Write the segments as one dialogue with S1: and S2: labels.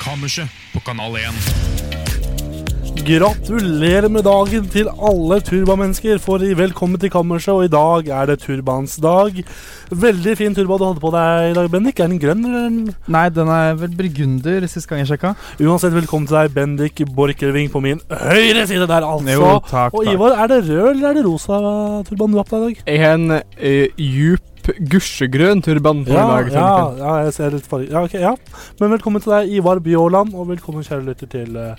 S1: Kammerset på Kanal 1.
S2: Gratulerer med dagen til alle turbamennesker, for i velkommen til kammerset, og i dag er det turbans dag. Veldig fin turba du hadde på deg i dag, Bendik. Er den grønn, eller? er den-
S3: Nei, den er vel burgunder sist gang jeg sjekka.
S2: Uansett, velkommen til deg, Bendik Borchgrevink, på min høyre side der, altså.
S3: takk,
S2: og Ivar, er det rød eller er det rosa turban du har på deg i dag?
S4: En eh, djup gusjegrønn turban på i dag.
S2: ja,
S4: Fenriken.
S2: ja, jeg ser litt farge. Ja, ok, ja. Men velkommen til deg, Ivar Bjåland, og velkommen, kjære lytter, til eh,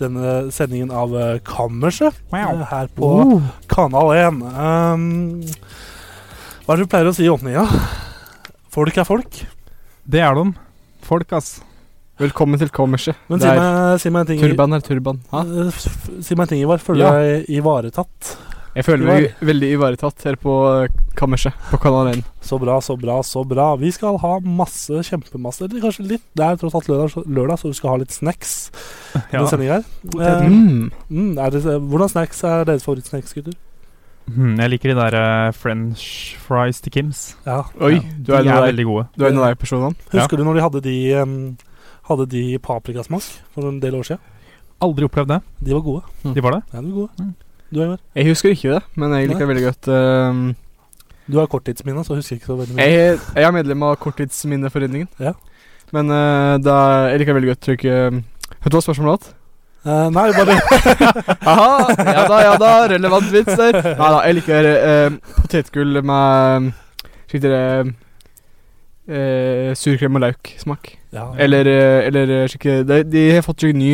S2: denne sendingen av eh, Kammerset
S3: Wow.
S2: eh, her på
S4: Oh.
S2: Kanal 1. Ehm, hva er det du pleier å si i åpninga? Folk er folk.
S3: Det er de. Folk, ass.
S4: Velkommen til kammerset.
S2: Men si
S4: Der.
S2: meg, si meg en ting
S4: Turban er turban.
S2: eh,
S4: Hæ?
S2: f- Si meg en ting, Ivar. Føler du
S4: Ja.
S2: deg ivaretatt?
S4: Jeg føler meg veldig ivaretatt her på eh, kammerset på Kanal 1.
S2: Så bra, så bra, så bra. Vi skal ha masse, kjempemasse. Eller kanskje litt. Det er tross alt lørdag, så- lørdag så du skal ha litt snacks. i denne sendingen her. Eh,
S4: Mm.
S2: mm, er det, hvordan snacks er deres favorittsnacks, gutter?
S5: Hmm, jeg liker de der eh, french fries til Kims.
S2: Ja.
S4: Oi, du er
S5: de
S4: en
S5: er
S4: av deg-
S5: veldig gode.
S4: du er en av de personene.
S2: Husker du når de hadde de, em, hadde de i paprikasmak for en del år siden?
S5: Aldri opplevd det.
S2: De var gode.
S4: Hmm.
S5: De var det.
S2: Ja, de var gode.
S5: Mm.
S2: Du, Ivar?
S4: Jeg husker ikke det, men jeg liker veldig godt eh,
S2: Du har korttidsminne, så husker jeg ikke så veldig mye.
S4: Jeg, jeg er medlem av Korttidsminneforeningen.
S2: Ja.
S4: Men eh, da, jeg liker veldig godt trykket Vet du hva spørsmålet var?
S2: Eh, nei, bare
S4: Aha, ja da, ja da, relevant vits der. Nei da, jeg liker eh, potetgull med Slik dere eh, Surkrem og lauksmak.
S2: ja.
S4: Eller, eh, eller slik de, de har fått slik ny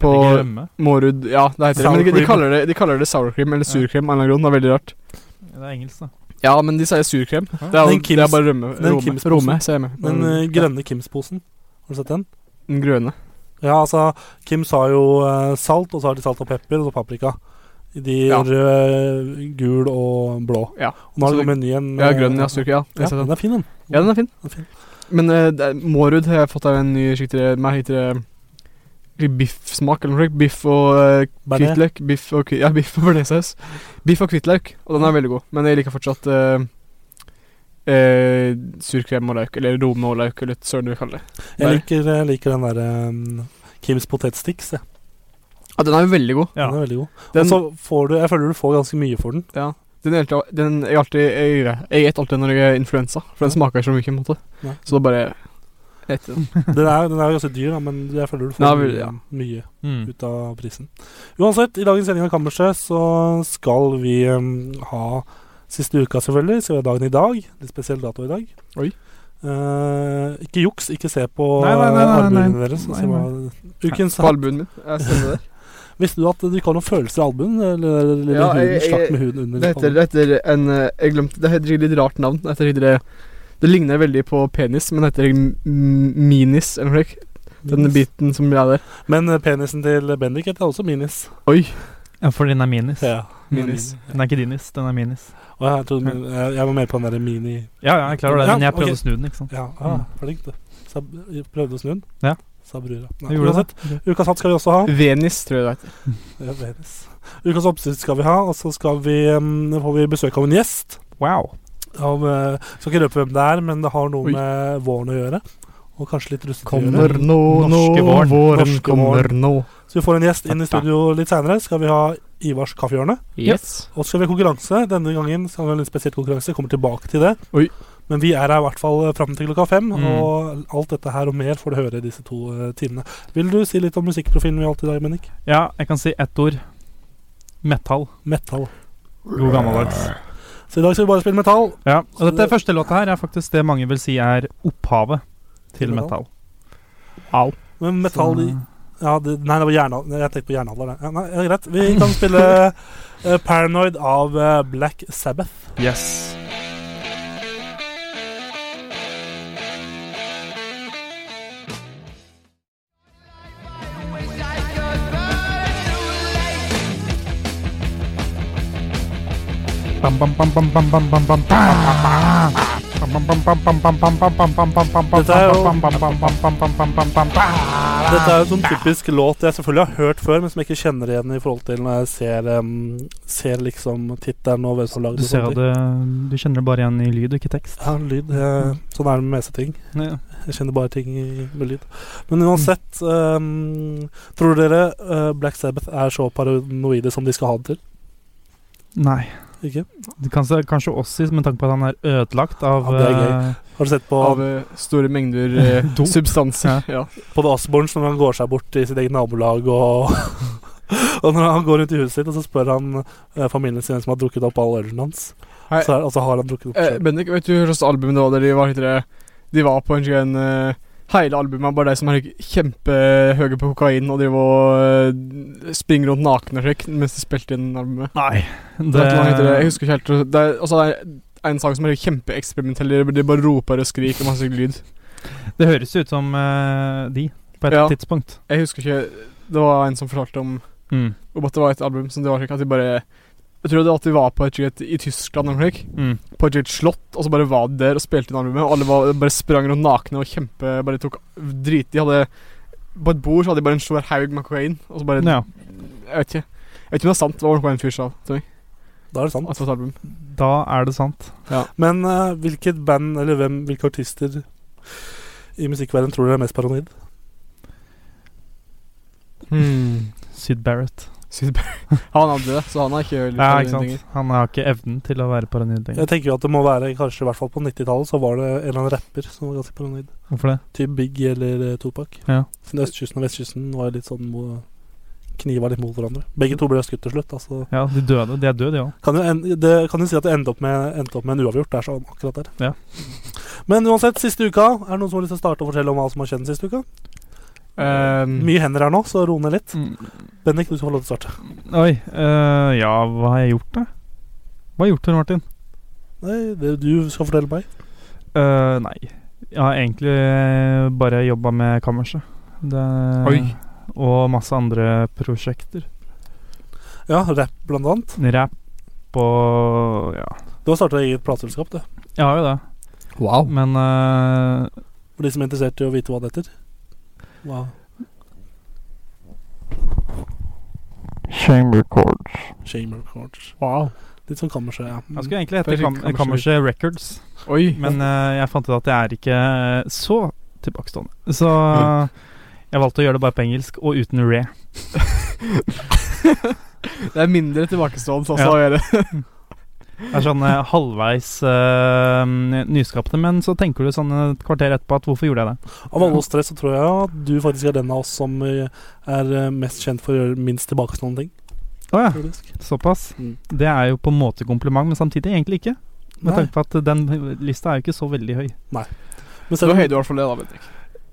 S4: på
S5: Jeg liker rømme.
S4: Mårud Ja, det heter det. Men
S5: Sour
S4: de, de,
S5: cream.
S4: kaller det, de kaller det sour cream eller surkrem av en eller annen grunn. Det er veldig rart.
S5: Det er engelsk, da.
S4: Ja, men de sier surkrem. Det er, jo-
S2: Den Kims-
S4: det er bare rømme.
S2: den
S4: Rome,
S2: Kims-posen.
S4: Rome, sier jeg Mm. med.
S2: Den eh, grønne Kims-posen. Har du sett den?
S4: Den grønne.
S2: Ja, altså Kims har jo eh, salt, og så har de salt og pepper, og så paprika. De
S4: Ja.
S2: rød, gul og blå.
S4: Ja.
S2: Og nå har
S4: Så
S2: de kommet ny en
S4: Ja,
S2: eh,
S4: grønn, ja. Surkrem. Ja, jeg
S2: Ja,
S4: har sett den.
S2: den er fin, den.
S4: Ja, den er fin.
S2: Den er fin.
S4: Men eh, det er- Mårud har fått av en ny skiktere Mer heter det biffsmak eller noe slikt. Biff og eh,
S2: Bearnés.
S4: hvitløk. Biff og, kvi- ja, biff og bearnéssaus. Biff og hvitløk, og den er veldig god. Men jeg liker fortsatt eh, eh, surkrem og løk, eller rome og løk, eller hva søren du vil kalle det.
S2: Jeg
S4: Nei.
S2: liker, jeg liker den eh, derre Kims potetsticks, jeg.
S4: Ja, den er jo veldig god.
S5: Ja.
S2: Den er veldig god.
S4: Den,
S2: og så får du Jeg føler du får ganske mye for den.
S4: ja, den er alltid, den er alltid Jeg gjør det. Jeg spiser alltid når jeg er influensa, for den smaker så mye, på en måte.
S2: Ja.
S4: Så da bare jeg spiser den.
S2: Den er, den er jo ganske dyr, da, men jeg føler du får
S4: Ja, vel, ja.
S2: mye
S5: Mm.
S2: ut av prisen. Uansett, i dagens sending av Kammerset så skal vi um, ha siste uka, selvfølgelig. Så er det dagen i dag. Litt spesiell dato i dag.
S4: Oi.
S2: Eh, ikke juks, ikke se på
S5: Nei, nei, nei, nei,
S2: albuene
S5: nei.
S2: deres. og
S5: Nei,
S2: se hva- Ukens
S4: På albuen min. Jeg stemmer det.
S2: Visste du at du ikke har noen følelser i albuen? Eller, eller
S4: Ja,
S2: huden,
S4: jeg- jeg-
S2: slakk med huden under
S4: Det heter, det heter en eh, Jeg glemte Det heter et litt rart navn. Det, heter, det, det ligner veldig på penis, men det heter m- minis, eller noe slikt. Den biten som er der.
S2: Men eh, penisen til Bendik heter også minis.
S4: Oi!
S5: Ja, for den er minis.
S2: Ja,
S4: Minis.
S5: Den er ikke dinis, den er minis.
S2: Og jeg, trodde, jeg, jeg var mer på den derre mini...
S5: Ja, ja, jeg klarer det,
S2: Ja,
S5: men jeg prøvde
S2: ok.
S5: å snu den, ikke sant.
S2: Ja, ah,
S4: Mm.
S2: flink du. Sa, prøvde å snu den?
S5: Ja.
S2: Sa brura.
S5: Jeg gjorde
S2: uansett, Ukas hatt skal vi også ha.
S4: Mm. Venis, tror jeg det heter.
S2: Ja, Veres. Ukas oppskrift skal vi ha, og så skal vi, em, får vi besøk av en gjest.
S5: Wow.
S2: Av, eh, skal ikke røpe hvem det er, men det har noe
S4: Oi.
S2: med våren å gjøre. Og kanskje litt rustet å gjøre.
S4: Kommer nå, nå,
S5: Norske våren.
S4: våren,
S2: Norske
S4: kommer nå.
S2: Så vi får en gjest inn i studio litt seinere. Skal vi ha Ivars kaffehjørne.
S4: Yes.
S2: Og så skal vi ha konkurranse. Denne gangen skal vi ha en litt spesiell konkurranse. Kommer tilbake til det.
S4: Oi.
S2: Men vi er her i hvert fall eh, fram til klokka fem.
S5: Mm.
S2: Og alt dette her og mer får du høre i disse to eh, timene. Vil du si litt om musikkprofilen vi har hatt i dag, Bennik?
S5: Ja, jeg kan si ett ord. Metall.
S2: Metal.
S5: God gammeldags.
S2: Så i dag skal vi bare spille metal.
S5: Ja, og
S2: Så
S5: dette
S2: det-
S5: første låta her er faktisk det mange vil si er opphavet til
S2: Til
S5: metall.
S2: Men metal
S5: Så-
S2: i- ja, det, Nei, det var jernal- jeg tenkte på jernalder. det. Ja, nei, ja, greit. Vi kan spille eh, Paranoid av eh, Black Sabbath.
S5: Yes. Bam, bam, bam, bam, bam, bam, bam, bam, bam, bam, bam, bam, bam, bam, bam, bam, bam, bam, bam, bam, bam,
S2: Dette er jo-
S5: bam, bam, bam, bam, bam, bam, bam, bam, bam, bam.
S2: Dette er jo sånn typisk låt jeg selvfølgelig har hørt før, men som jeg ikke kjenner igjen i forhold til når jeg ser, em, ser liksom tittelen og hvem som har lagd
S5: Du ser at det- du kjenner det bare igjen i lyd, ikke tekst.
S2: Ja, lyd. eh, sånn er det med meste ting.
S5: Ja.
S2: Jeg kjenner bare ting i, med lyd. Men uansett, em, tror dere eh, Black Sabbath er så paranoide som de skal ha det til?
S5: Nei.
S2: Ikke?
S5: Det kan, se- kanskje Ossis, med tanke på at han er ødelagt av
S2: Ja, det er gøy.
S5: eh,
S2: Har du sett på,
S4: Av eh, store mengder eh,
S5: Dop.
S4: substanser. Ja.
S2: på The Osborns når han går seg bort i sitt eget nabolag og Og når han går rundt i huset sitt, og så spør han eh, familien sin hvem som har drukket opp all ølen hans.
S4: Hei.
S2: Så er, og så har han drukket opp
S4: Eh,
S2: selv.
S4: Bendik, vet du hvilket album det var der de var litt eh, De var på en slik en eh, Hele albumet er bare de som er kjempehøye på kokain og driver og eh, springer rundt nakne og slik mens de spilte inn albumet.
S5: Nei.
S4: Det, er et eller annet heter det, jeg husker ikke helt det er, Og så er det en sang som er kjempeeksperimentell. De de bare roper og skriker og masse lyd.
S5: Det høres ut som eh, de, på et
S4: Ja.
S5: tidspunkt.
S4: Jeg husker ikke Det var en som fortalte om,
S5: Mm.
S4: om at det var et album som det var slik at de bare Jeg tror det var at de var på et slikt i Tyskland eller noe slik.
S5: Mm.
S4: på et slikt slott, og så bare var de der og spilte inn albumet. Og alle var, bare sprang rundt nakne og kjempe Bare tok drit. De hadde På et bord så hadde de bare en svær haug med kokain, og så bare
S5: Ja.
S4: Jeg vet ikke. Jeg vet ikke om det er sant. Det var noe en fyr sa til meg.
S2: Da er det sant.
S4: At det var et album.
S5: Da er det sant.
S2: Men eh, hvilket band, eller hvem, hvilke artister i musikkverdenen tror dere er mest paranoid?
S5: Hmm. Syd Barrett.
S4: Sid Barrett. Han hadde det, så han har ikke liksom,
S5: Ja, ikke sant? Han har ikke evnen til å være paranoid lenger.
S2: Jeg tenker jo at det må være, kanskje i hvert fall på 90-tallet, så var det en eller annen rapper som var ganske paranoid.
S5: Hvorfor det?
S2: Typ Big eller eh, Tupac.
S5: Ja.
S2: Siden østkysten og vestkysten var jo litt sånn mo- kniva litt mot hverandre. Begge to ble skutt til slutt. Altså.
S5: Ja, de døde. De er døde, de òg.
S2: Kan, jo en, det, kan jo si at det endte opp med, endte opp med en uavgjort. Det er sånn akkurat der.
S5: Ja.
S2: Men uansett, siste uka Er det noen som har lyst til å starte og fortelle om hva som har skjedd den siste uka?
S4: Um,
S2: Mye hender her nå, så ro ned litt. Bendik, du skal få lov til å starte.
S5: Oi. eh, ja, hva har jeg gjort, da? Hva har jeg gjort, Tor Martin?
S2: Nei, det, du skal fortelle meg.
S5: Eh, nei. Jeg har egentlig eh, bare jobba med kammerset. Det,
S4: Oi.
S5: Og masse andre prosjekter.
S2: Ja, rapp blant annet.
S5: Rap og ja.
S2: Du har startet eget plateselskap, du.
S5: Jeg har jo det.
S4: Wow.
S5: Men eh,
S2: For de som er interessert i å vite hva det heter. Wow.
S6: Shame Records.
S2: Shamer Records.
S4: wow.
S2: Litt sånn kammerset, ja.
S5: jeg skulle egentlig hete
S4: Faktisk
S5: kam
S4: Kammerset.
S5: Kammerset Records,
S4: Oi.
S5: men eh, jeg fant ut at jeg er ikke eh, så tilbakestående. Så jeg valgte å gjøre det bare på engelsk og uten re.
S4: Det er mindre tilbakestående, altså.
S5: Ja.
S4: å gjøre.
S5: Det er sånn eh, halvveis eh, nyskapende, men så tenker du sånn et kvarter etterpå at hvorfor gjorde jeg det?
S2: Av alle oss tre så tror jeg at du faktisk er den av oss som eh, er eh, mest kjent for å gjøre minst tilbakestående ting.
S5: Å ja,
S2: faktisk.
S5: såpass.
S2: Mm.
S5: Det er jo på en måte kompliment, men samtidig egentlig ikke. Med
S2: Nei.
S5: tanke på at den lista er jo ikke så veldig høy.
S2: Men
S4: Så
S2: selv
S4: da
S2: om
S4: heier du i hvert fall det, da, Bendik.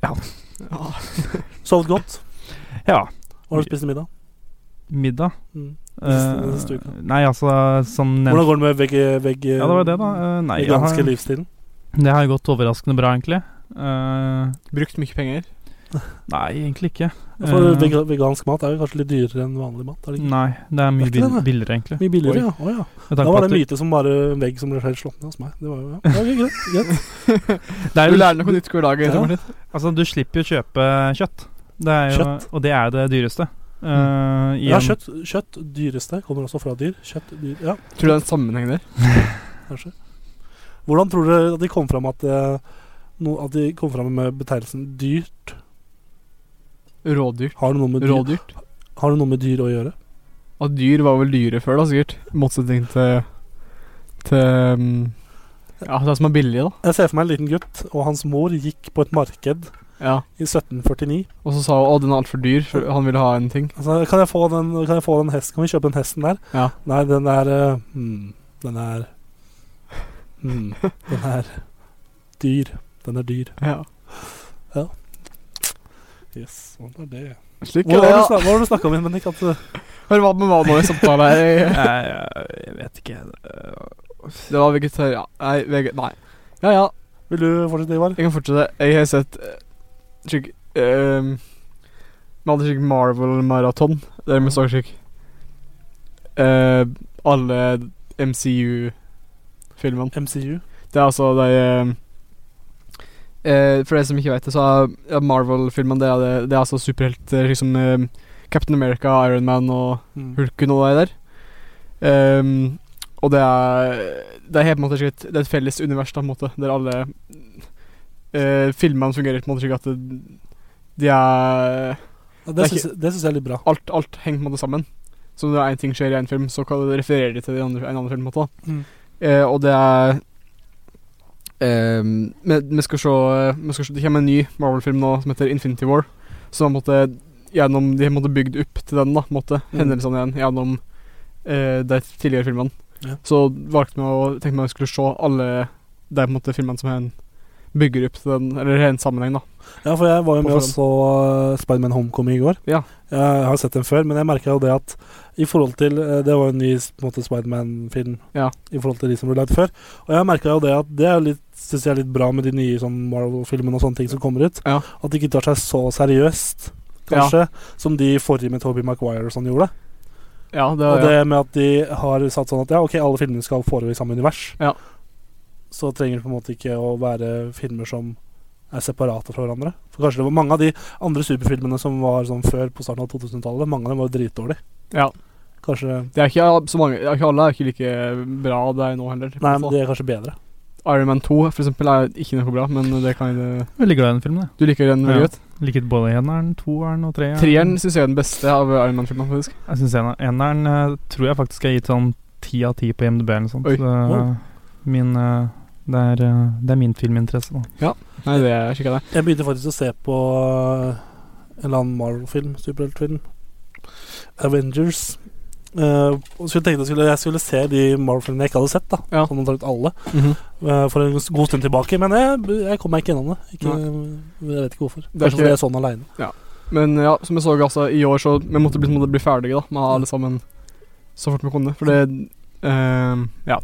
S5: Ja.
S4: Ja.
S2: sovet godt,
S5: Ja.
S2: og har du spist middag?
S5: Middag.
S2: Mm.
S5: eh,
S2: Den siste uka.
S5: nei, altså, som nevnt
S2: Hvordan går det med veg... veg
S5: Ja, det var det, da. Eh, nei, jeg
S2: veganske
S5: har,
S2: livsstilen?
S5: det har gått overraskende bra, egentlig. Eh,
S4: Brukt mye penger.
S5: nei, egentlig ikke.
S2: For
S5: Eh,
S2: veg vegansk mat er jo kanskje litt dyrere enn vanlig mat? Er det ikke?
S5: Nei, det er
S2: Er
S5: mye
S2: ikke det
S5: bill-
S2: det?
S5: billigere, egentlig.
S2: Mye billigere, ja. Å ja.
S5: Med
S2: Da
S5: tanke på
S2: var
S5: at
S2: det en
S5: du-
S2: myte som bare en vegg som ble helt slått ned hos meg. Det var jo, ja. Ja, ok, greit, greit.
S5: det er
S4: Du
S5: jo,
S4: lærer noe nytt hver dag.
S2: Ja.
S4: Tor Martin.
S5: altså, du slipper jo å kjøpe kjøtt. Det er jo,
S2: Kjøtt? Mm.
S5: Og det er jo det dyreste. Eh,
S2: Ja,
S5: igjen.
S2: kjøtt, kjøtt dyreste kommer også fra dyr. Kjøtt, dyr, ja,
S4: Tror du det er en sammenheng der?
S2: kanskje. Hvordan tror dere at de kom fram at, eh, no, at de kom fram med betegnelsen dyrt?
S4: Rådyr.
S2: Har det noe med dyr,
S4: Rådyrt.
S2: har det noe med dyr å gjøre?
S4: At dyr var vel dyre før, da, sikkert. I motsetning til Til um, Ja, det som er billig, da.
S2: Jeg ser for meg en liten gutt og hans mor gikk på et marked
S4: Ja.
S2: i 1749.
S4: Og så sa hun å, den er altfor dyr, for han ville ha en ting.
S2: Altså, kan jeg få den, kan jeg få den hesten? Kan vi kjøpe den hesten der?
S4: Ja.
S2: Nei, den er eh, hmm, Den er hmm, Den er dyr. Den er dyr.
S4: Ja.
S2: Yes, sånn er det.
S4: Slik
S2: Hva
S4: er
S2: var
S4: det,
S2: det du
S4: ja.
S2: snak- hva var det du snakka om, Bendik? At, eh,
S4: Hør hva med hva nå i samtalen her.
S5: Eh, jeg vet ikke.
S4: Det var vegetar... Ja. Nei, veg... Nei. Ja ja,
S2: vil du fortsette, Ivar?
S4: jeg kan fortsette. Jeg har sett eh, slik um, Vi hadde slik Marvel-maraton, der vi så slik eh, alle MCU-filmen.
S2: MCU.
S4: Det er altså de eh, eh, For dere som ikke vet det, så er ja, Marvel-filmen det, er det- det er altså superhelter liksom eh, Captain America, Iron Man og
S2: Mm.
S4: Hulken og de der. Ehm, og det er Det er helt på en måte slik at Det er et felles univers, da, på en måte, der alle eh, filmene fungerer på en måte slik at det, de er
S2: Ja,
S4: Det er
S2: Det syns jeg- det syns jeg er litt bra.
S4: alt, alt henger på en måte sammen. Så når én ting skjer i én film, så kan det referere de til det i andre, en annen film. på en Måte. da.
S2: Mm.
S4: Eh, og det er eh, vi, vi skal se vi skal se, Det kommer en ny Marvel-film nå som heter Infinity War. Som på en måte gjennom De har på en måte bygd opp til den, da, på en måte.
S2: Mm.
S4: Hendelsene igjen gjennom eh, de tidligere filmene.
S2: Ja.
S4: Så valgte vi å tenke meg at vi skulle se alle de på en måte filmene som har en bygger opp til den, eller har en sammenheng, da.
S2: Ja, for jeg var jo
S4: På
S2: med og
S4: forhånd.
S2: så uh, Spiderman Homecoming i går.
S4: Ja.
S2: Jeg har sett den før, men jeg merka jo det at i forhold til eh, Det var jo en ny på en måte, Spiderman-film
S4: Ja.
S2: i forhold til de som ble lagd før. Og jeg merka jo det at det er jo litt Synes jeg er litt bra med de nye sånn Marvel-filmene og sånne ting som kommer ut.
S4: Ja.
S2: At de ikke tar seg så seriøst, kanskje, som de forrige med Toby Maguire og sånn gjorde.
S4: Ja, det,
S2: og det med at de har satt sånn at ja, ok, alle filmene skal foregå i samme univers.
S4: Ja.
S2: Så trenger det på en måte ikke å være filmer som er separate fra hverandre. For kanskje det var mange av de andre superfilmene som var sånn før på starten av 2000-tallet, mange av dem var jo dritdårlige.
S4: Ja.
S2: Kanskje
S4: Det er ikke all- så mange Ikke alle er ikke like bra det er nå heller. Altså,
S2: Nei, men de er kanskje bedre.
S4: Iron Man 2 for eksempel er ikke noe bra, men det kan jeg-
S5: Veldig glad i den filmen.
S4: Du liker den veldig
S5: Ja.
S4: godt.
S5: jeg. Liket både eneren, toeren og treeren.
S4: Treeren syns jeg er den beste av Iron Man-filmene, faktisk.
S5: Jeg synes ener- Eneren eh, tror jeg faktisk er gitt sånn 10 av 10 på MDB eller noe sånt.
S4: Oi.
S5: Så, eh, min, eh, det, er, eh, det er min filminteresse, da.
S4: Nei, det er skikkelig det.
S2: Jeg begynte faktisk å se på øh, en eller annen Marvel-film, superheltfilm. Avengers. Eh, og så tenkte jeg skulle, jeg skulle se de Marvel-filmene jeg ikke hadde sett, da.
S4: Ja. Mhm.
S2: Sånn omtrent alle. eh, for en god stund tilbake, men jeg, jeg kom meg ikke gjennom det. Ikke, jeg vet ikke hvorfor.
S4: Det er
S2: Kanskje fordi
S4: ikke-
S2: jeg sånn så den aleine.
S4: Men ja, som jeg så, altså, i år så Vi måtte bli, måtte bli ferdige, da, med alle sammen så fort vi kunne. For det ehm, Ja.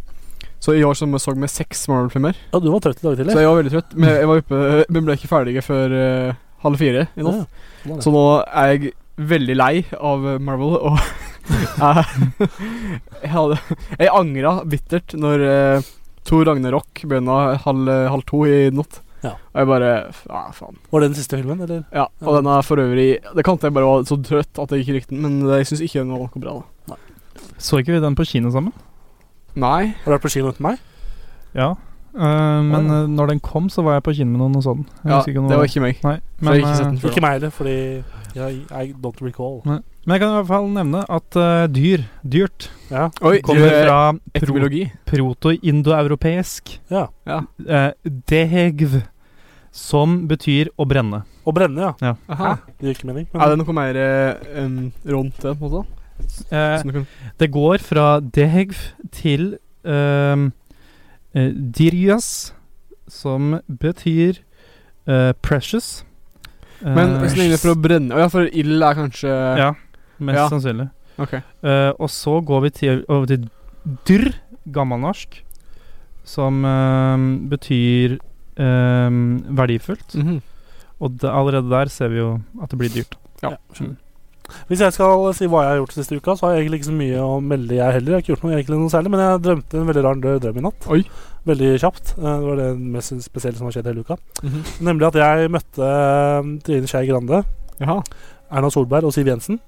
S4: Så i år så så vi seks Marvel-filmer.
S2: Ja, du var trøtt i dag tidlig.
S4: Så jeg var veldig trøtt. Men jeg var oppe Vi ble ikke ferdige før eh, halv fire i natt.
S2: Ja, sånn er det.
S4: Så nå er jeg veldig lei av eh, Marvel, og jeg, jeg, hadde, jeg angra bittert når uh, Thor Ragnarok begynner halv, halv to i natt.
S2: Ja.
S4: Og jeg bare f- Ja, faen.
S2: Var det den siste filmen, eller?
S4: Ja, og den er for øvrig Det kan hende jeg bare var så trøtt at jeg ikke likte den, men det- jeg syns ikke den var noe bra. da
S5: Så ikke vi den på kino sammen?
S4: Nei.
S2: Har du vært på kino uten meg?
S5: Ja. Eh, men eh, når den kom, så var jeg på kino med noen og så den. Jeg
S4: Ja,
S5: husker ikke om
S4: det var ikke meg.
S5: Nei,
S4: For jeg har ikke
S5: eh,
S4: sett den før.
S2: Ikke
S4: da.
S2: meg heller, fordi jeg, I don't recall.
S5: Men jeg kan i hvert fall nevne at eh, dyr, dyrt,
S2: Ja.
S4: Oi,
S5: kommer
S4: eh,
S5: fra pro
S4: etymologi.
S5: proto-indoeuropeisk
S2: ja.
S5: eh, dehegv, som betyr å brenne.
S2: Og brenne, ja.
S4: Aha.
S2: Det gir ikke mening. men-
S4: Er det noe mer eh, um, rundt det, på en måte?
S5: Eh,
S4: Som du kan-
S5: det går fra dehegv til eh, eh, dirjas, som betyr eh, precious. Eh,
S4: Men så lenge det er for å brenne Å ja, for ild er kanskje
S5: Ja, mest
S4: ja.
S5: sannsynlig.
S4: Ok.
S5: Eh, og så går vi til, over til dyrr, gammelnorsk, som eh, betyr eh, verdifullt.
S4: Mhm.
S5: Og det, allerede der ser vi jo at det blir dyrt.
S4: Ja.
S2: Ja, skjønner. Hvis jeg skal si hva jeg har gjort siste uka, så har jeg egentlig ikke så mye å melde, jeg heller. Jeg har ikke gjort noe, egentlig noe særlig, men jeg drømte en veldig rar død drøm i natt.
S4: Oi.
S2: Veldig kjapt. Eh, Det var det mest spesielle som har skjedd hele uka.
S4: Mhm.
S2: Nemlig at jeg møtte eh, Trine Skei Grande,
S4: Jaha.
S2: Erna Solberg og Siv Jensen.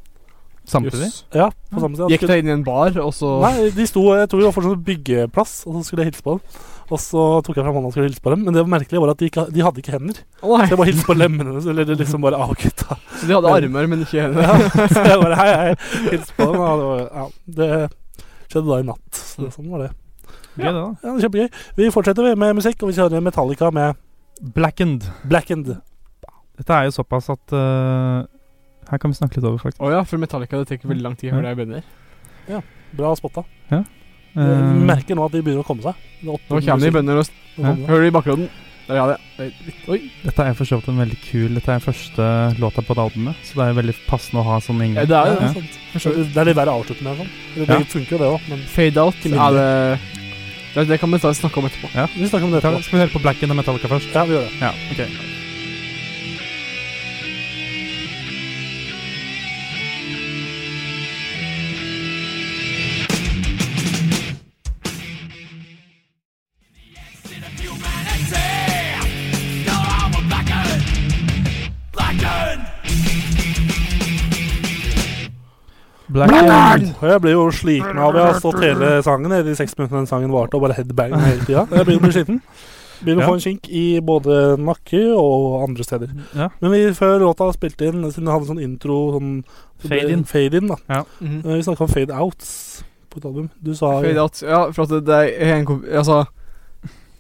S5: Samtidig.
S4: Jøss.
S2: Ja, på samme sted.
S4: Gikk deg inn i en bar, og så
S2: Nei, de sto, jeg tror de var for sånn byggeplass, og så skulle jeg hilse på dem. Og så tok jeg fram hånda og skulle hilse på dem, men det merkelige var at de, ikke, de hadde ikke hender.
S4: Å,
S2: Så
S4: nei.
S2: jeg bare hilste på lemmene hennes, eller det liksom bare avgutta.
S4: Så de hadde armer, men ikke hender.
S2: Ja, så jeg bare hei, hei, hilste på dem. Og det, var, ja, det skjedde da i natt. Så sånn var det.
S5: Gøy, det, da.
S2: Ja, det er Kjempegøy. Vi fortsetter vi med musikk, og vi kjører Metallica med
S5: Blackened.
S2: Blackened.
S5: Dette er jo såpass at eh, Her kan vi snakke litt over, faktisk.
S4: Å ja, for Metallica det tar veldig lang tid før det begynner.
S2: Bra spotta.
S5: Eh,
S2: Jeg merker nå at de begynner å komme seg. Det er åtte
S4: Nå kommer de
S2: minutter
S4: bønder og s-
S2: til å komme seg.
S4: hører de i bakgrunnen. Der, ja, det. det. er litt- Oi.
S5: dette er for så vidt en veldig kul Dette er første låta på det albumet, så det er jo veldig passende å ha sånn
S4: Ja,
S5: inngang.
S4: det er jo
S2: Ja,
S4: det.
S2: sant. Det er litt verre å avslutte med. Sånn. Det
S5: Ja.
S2: funker jo det òg, men
S4: Fade out. Ja, det, det, det kan vi ta snakke om etterpå.
S2: vi snakker om det
S5: Ta-
S2: etterpå.
S5: Skal vi høre på Blackened og Metallica først?
S2: Ja, vi gjør det.
S5: Ja, ok Black
S2: Og jeg ble jo sliten av Jeg har stått hele sangen i de seks minuttene den sangen varte, og bare headbang hele tida. Jeg begynner å bli sliten. Begynner å
S5: Ja.
S2: få en kink i både nakke og andre steder.
S5: Ja.
S2: Men vi, før låta spilte inn, siden vi hadde sånn intro sånn,
S5: Fade in.
S2: Fade in da. Eh,
S4: Mhm.
S2: Vi snakka om fade outs på et album. Du sa
S4: Fade out. Ja, for at det, det er en komp... Altså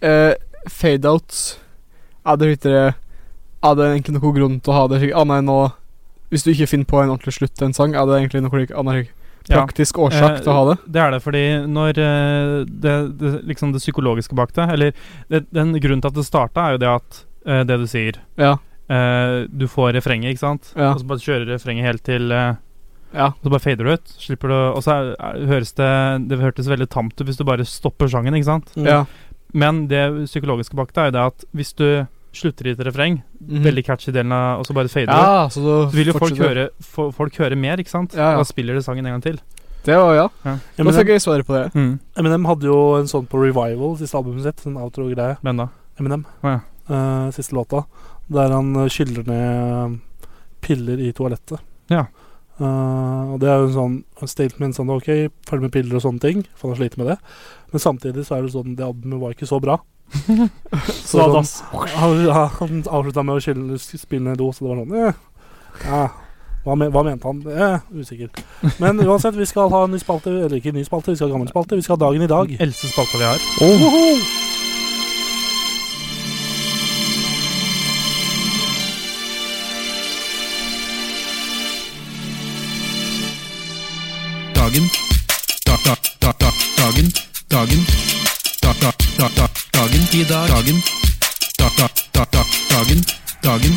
S4: eh, Fade outs Er det litere Er det egentlig noen grunn til å ha det slik annet enn å Hvis du ikke finner på en ordentlig slutt til en sang, er det egentlig noe like, annet slik
S5: Ja.
S4: praktisk årsak
S5: Eh,
S4: til å ha det?
S5: Det er det, fordi når eh, det, det, liksom det psykologiske bak det Eller det, den grunnen til at det starta, er jo det at eh, det du sier
S4: Ja.
S5: eh, Du får refrenget, ikke sant?
S4: Ja.
S5: Og så bare kjører refrenget helt til eh,
S4: Ja.
S5: Og så bare fader du ut. Slipper du Og så er, er, høres det Det hørtes veldig tamt ut hvis du bare stopper sangen, ikke sant?
S2: Mm.
S4: ja.
S5: Men det psykologiske bak det er jo det at hvis du slutter i et refreng,
S4: Mhm.
S5: veldig catchy delen av Og så bare fader du ut,
S4: Ja, så da
S5: så vil jo folk
S4: fortsetter-
S5: høre, fo- folk høre mer, ikke sant?
S4: Ja, ja.
S5: Da spiller de sangen en gang til.
S4: Det var ja. Da
S2: Eminem,
S4: fikk jeg svaret på det.
S5: Mm.
S2: Eminem hadde jo en sånn på Revival, siste albumet sitt. En outro-greie.
S5: Men da?
S2: Eminem.
S5: Ja.
S2: Eh, siste låta. Der han eh, skyller ned eh, piller i toalettet.
S5: Ja.
S2: Eh, og det er jo en sånn en statement sånn OK, følg med piller og sånne ting, for han sliter med det. Men samtidig så er det sånn det albumet var ikke så bra. så da, han, han avslutta med å skylle, spille ned i do, så det var sånn eh, ja. Hva, men, hva mente han? Eh, usikker. Men uansett, vi skal ha en ny spalte. Eller ikke en ny spalte, vi skal ha gammel spalte. Vi skal ha dagen i dag.
S5: Eldste spalta vi har.
S1: Dagen. Da, da, da, da, dagen. Dagen. Da, da, da, da, dagen. I dag. Dagen. Da, da, da, da, dagen. Dagen.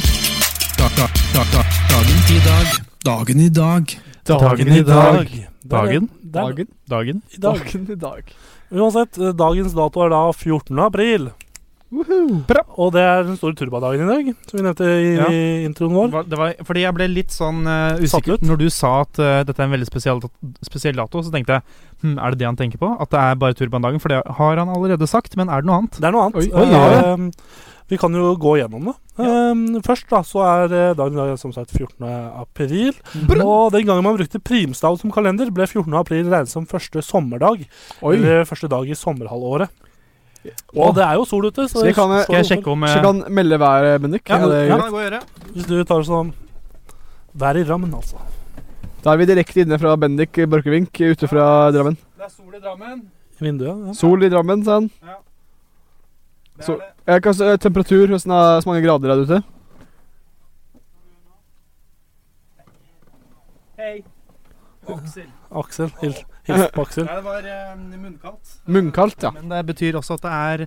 S1: Da, da, da, da, dagen. I dag. Dagen i dag.
S5: Dagen i dag. Dagen?
S2: Der, der,
S4: Dagen.
S5: Dagen.
S2: I dag.
S4: Dagen i dag.
S2: Uansett, eh, dagens dato er da 14. april. Bra. Og det er den store turbadagen i dag, som vi nevnte i
S5: Ja.
S2: i introen vår.
S5: Var- Det var, fordi jeg ble litt sånn eh,
S2: Satt
S5: usikker
S2: ut?
S5: Når du sa at eh, dette er en veldig spesiell, dat spesiell dato, så tenkte jeg hm, Er det det han tenker på? At det er bare turbandagen? For det har han allerede sagt, men er det noe annet?
S2: Det er noe annet.
S4: Oi, oi,
S2: Eh, vi kan jo gå gjennom det. Eh, først da, så er eh, dagen i dag som sagt 14. april. Og den gangen man brukte primstav som kalender, ble 14. april regnet som første sommerdag.
S4: Oi.
S2: Eller første dag i sommerhalvåret. Og det er jo sol ute. Så
S4: Skal jeg kan-
S2: det står
S5: Skal jeg
S2: jo sol.
S5: sjekke om eh,
S4: Så kan melde været, Bendik.
S5: Ja,
S4: er det
S5: ja,
S4: greit?
S5: det går å gjøre.
S2: Hvis du tar sånn Vær i rammen, altså.
S4: Da er vi direkte inne fra Bendik Børkevink ute fra Drammen.
S5: Det er sol i Drammen.
S2: I vinduet. Ja.
S4: Sol i Drammen, sa han.
S5: Det
S4: Så-
S5: er det.
S4: Eh, hva s- eh, temperatur, hvordan er så mange grader er det ute?
S5: Hei. Aksel.
S2: Aksel. Hils, hils på Aksel.
S5: Nei, det var eh, munnkaldt.
S4: Munnkaldt, ja.
S5: Men det betyr også at det er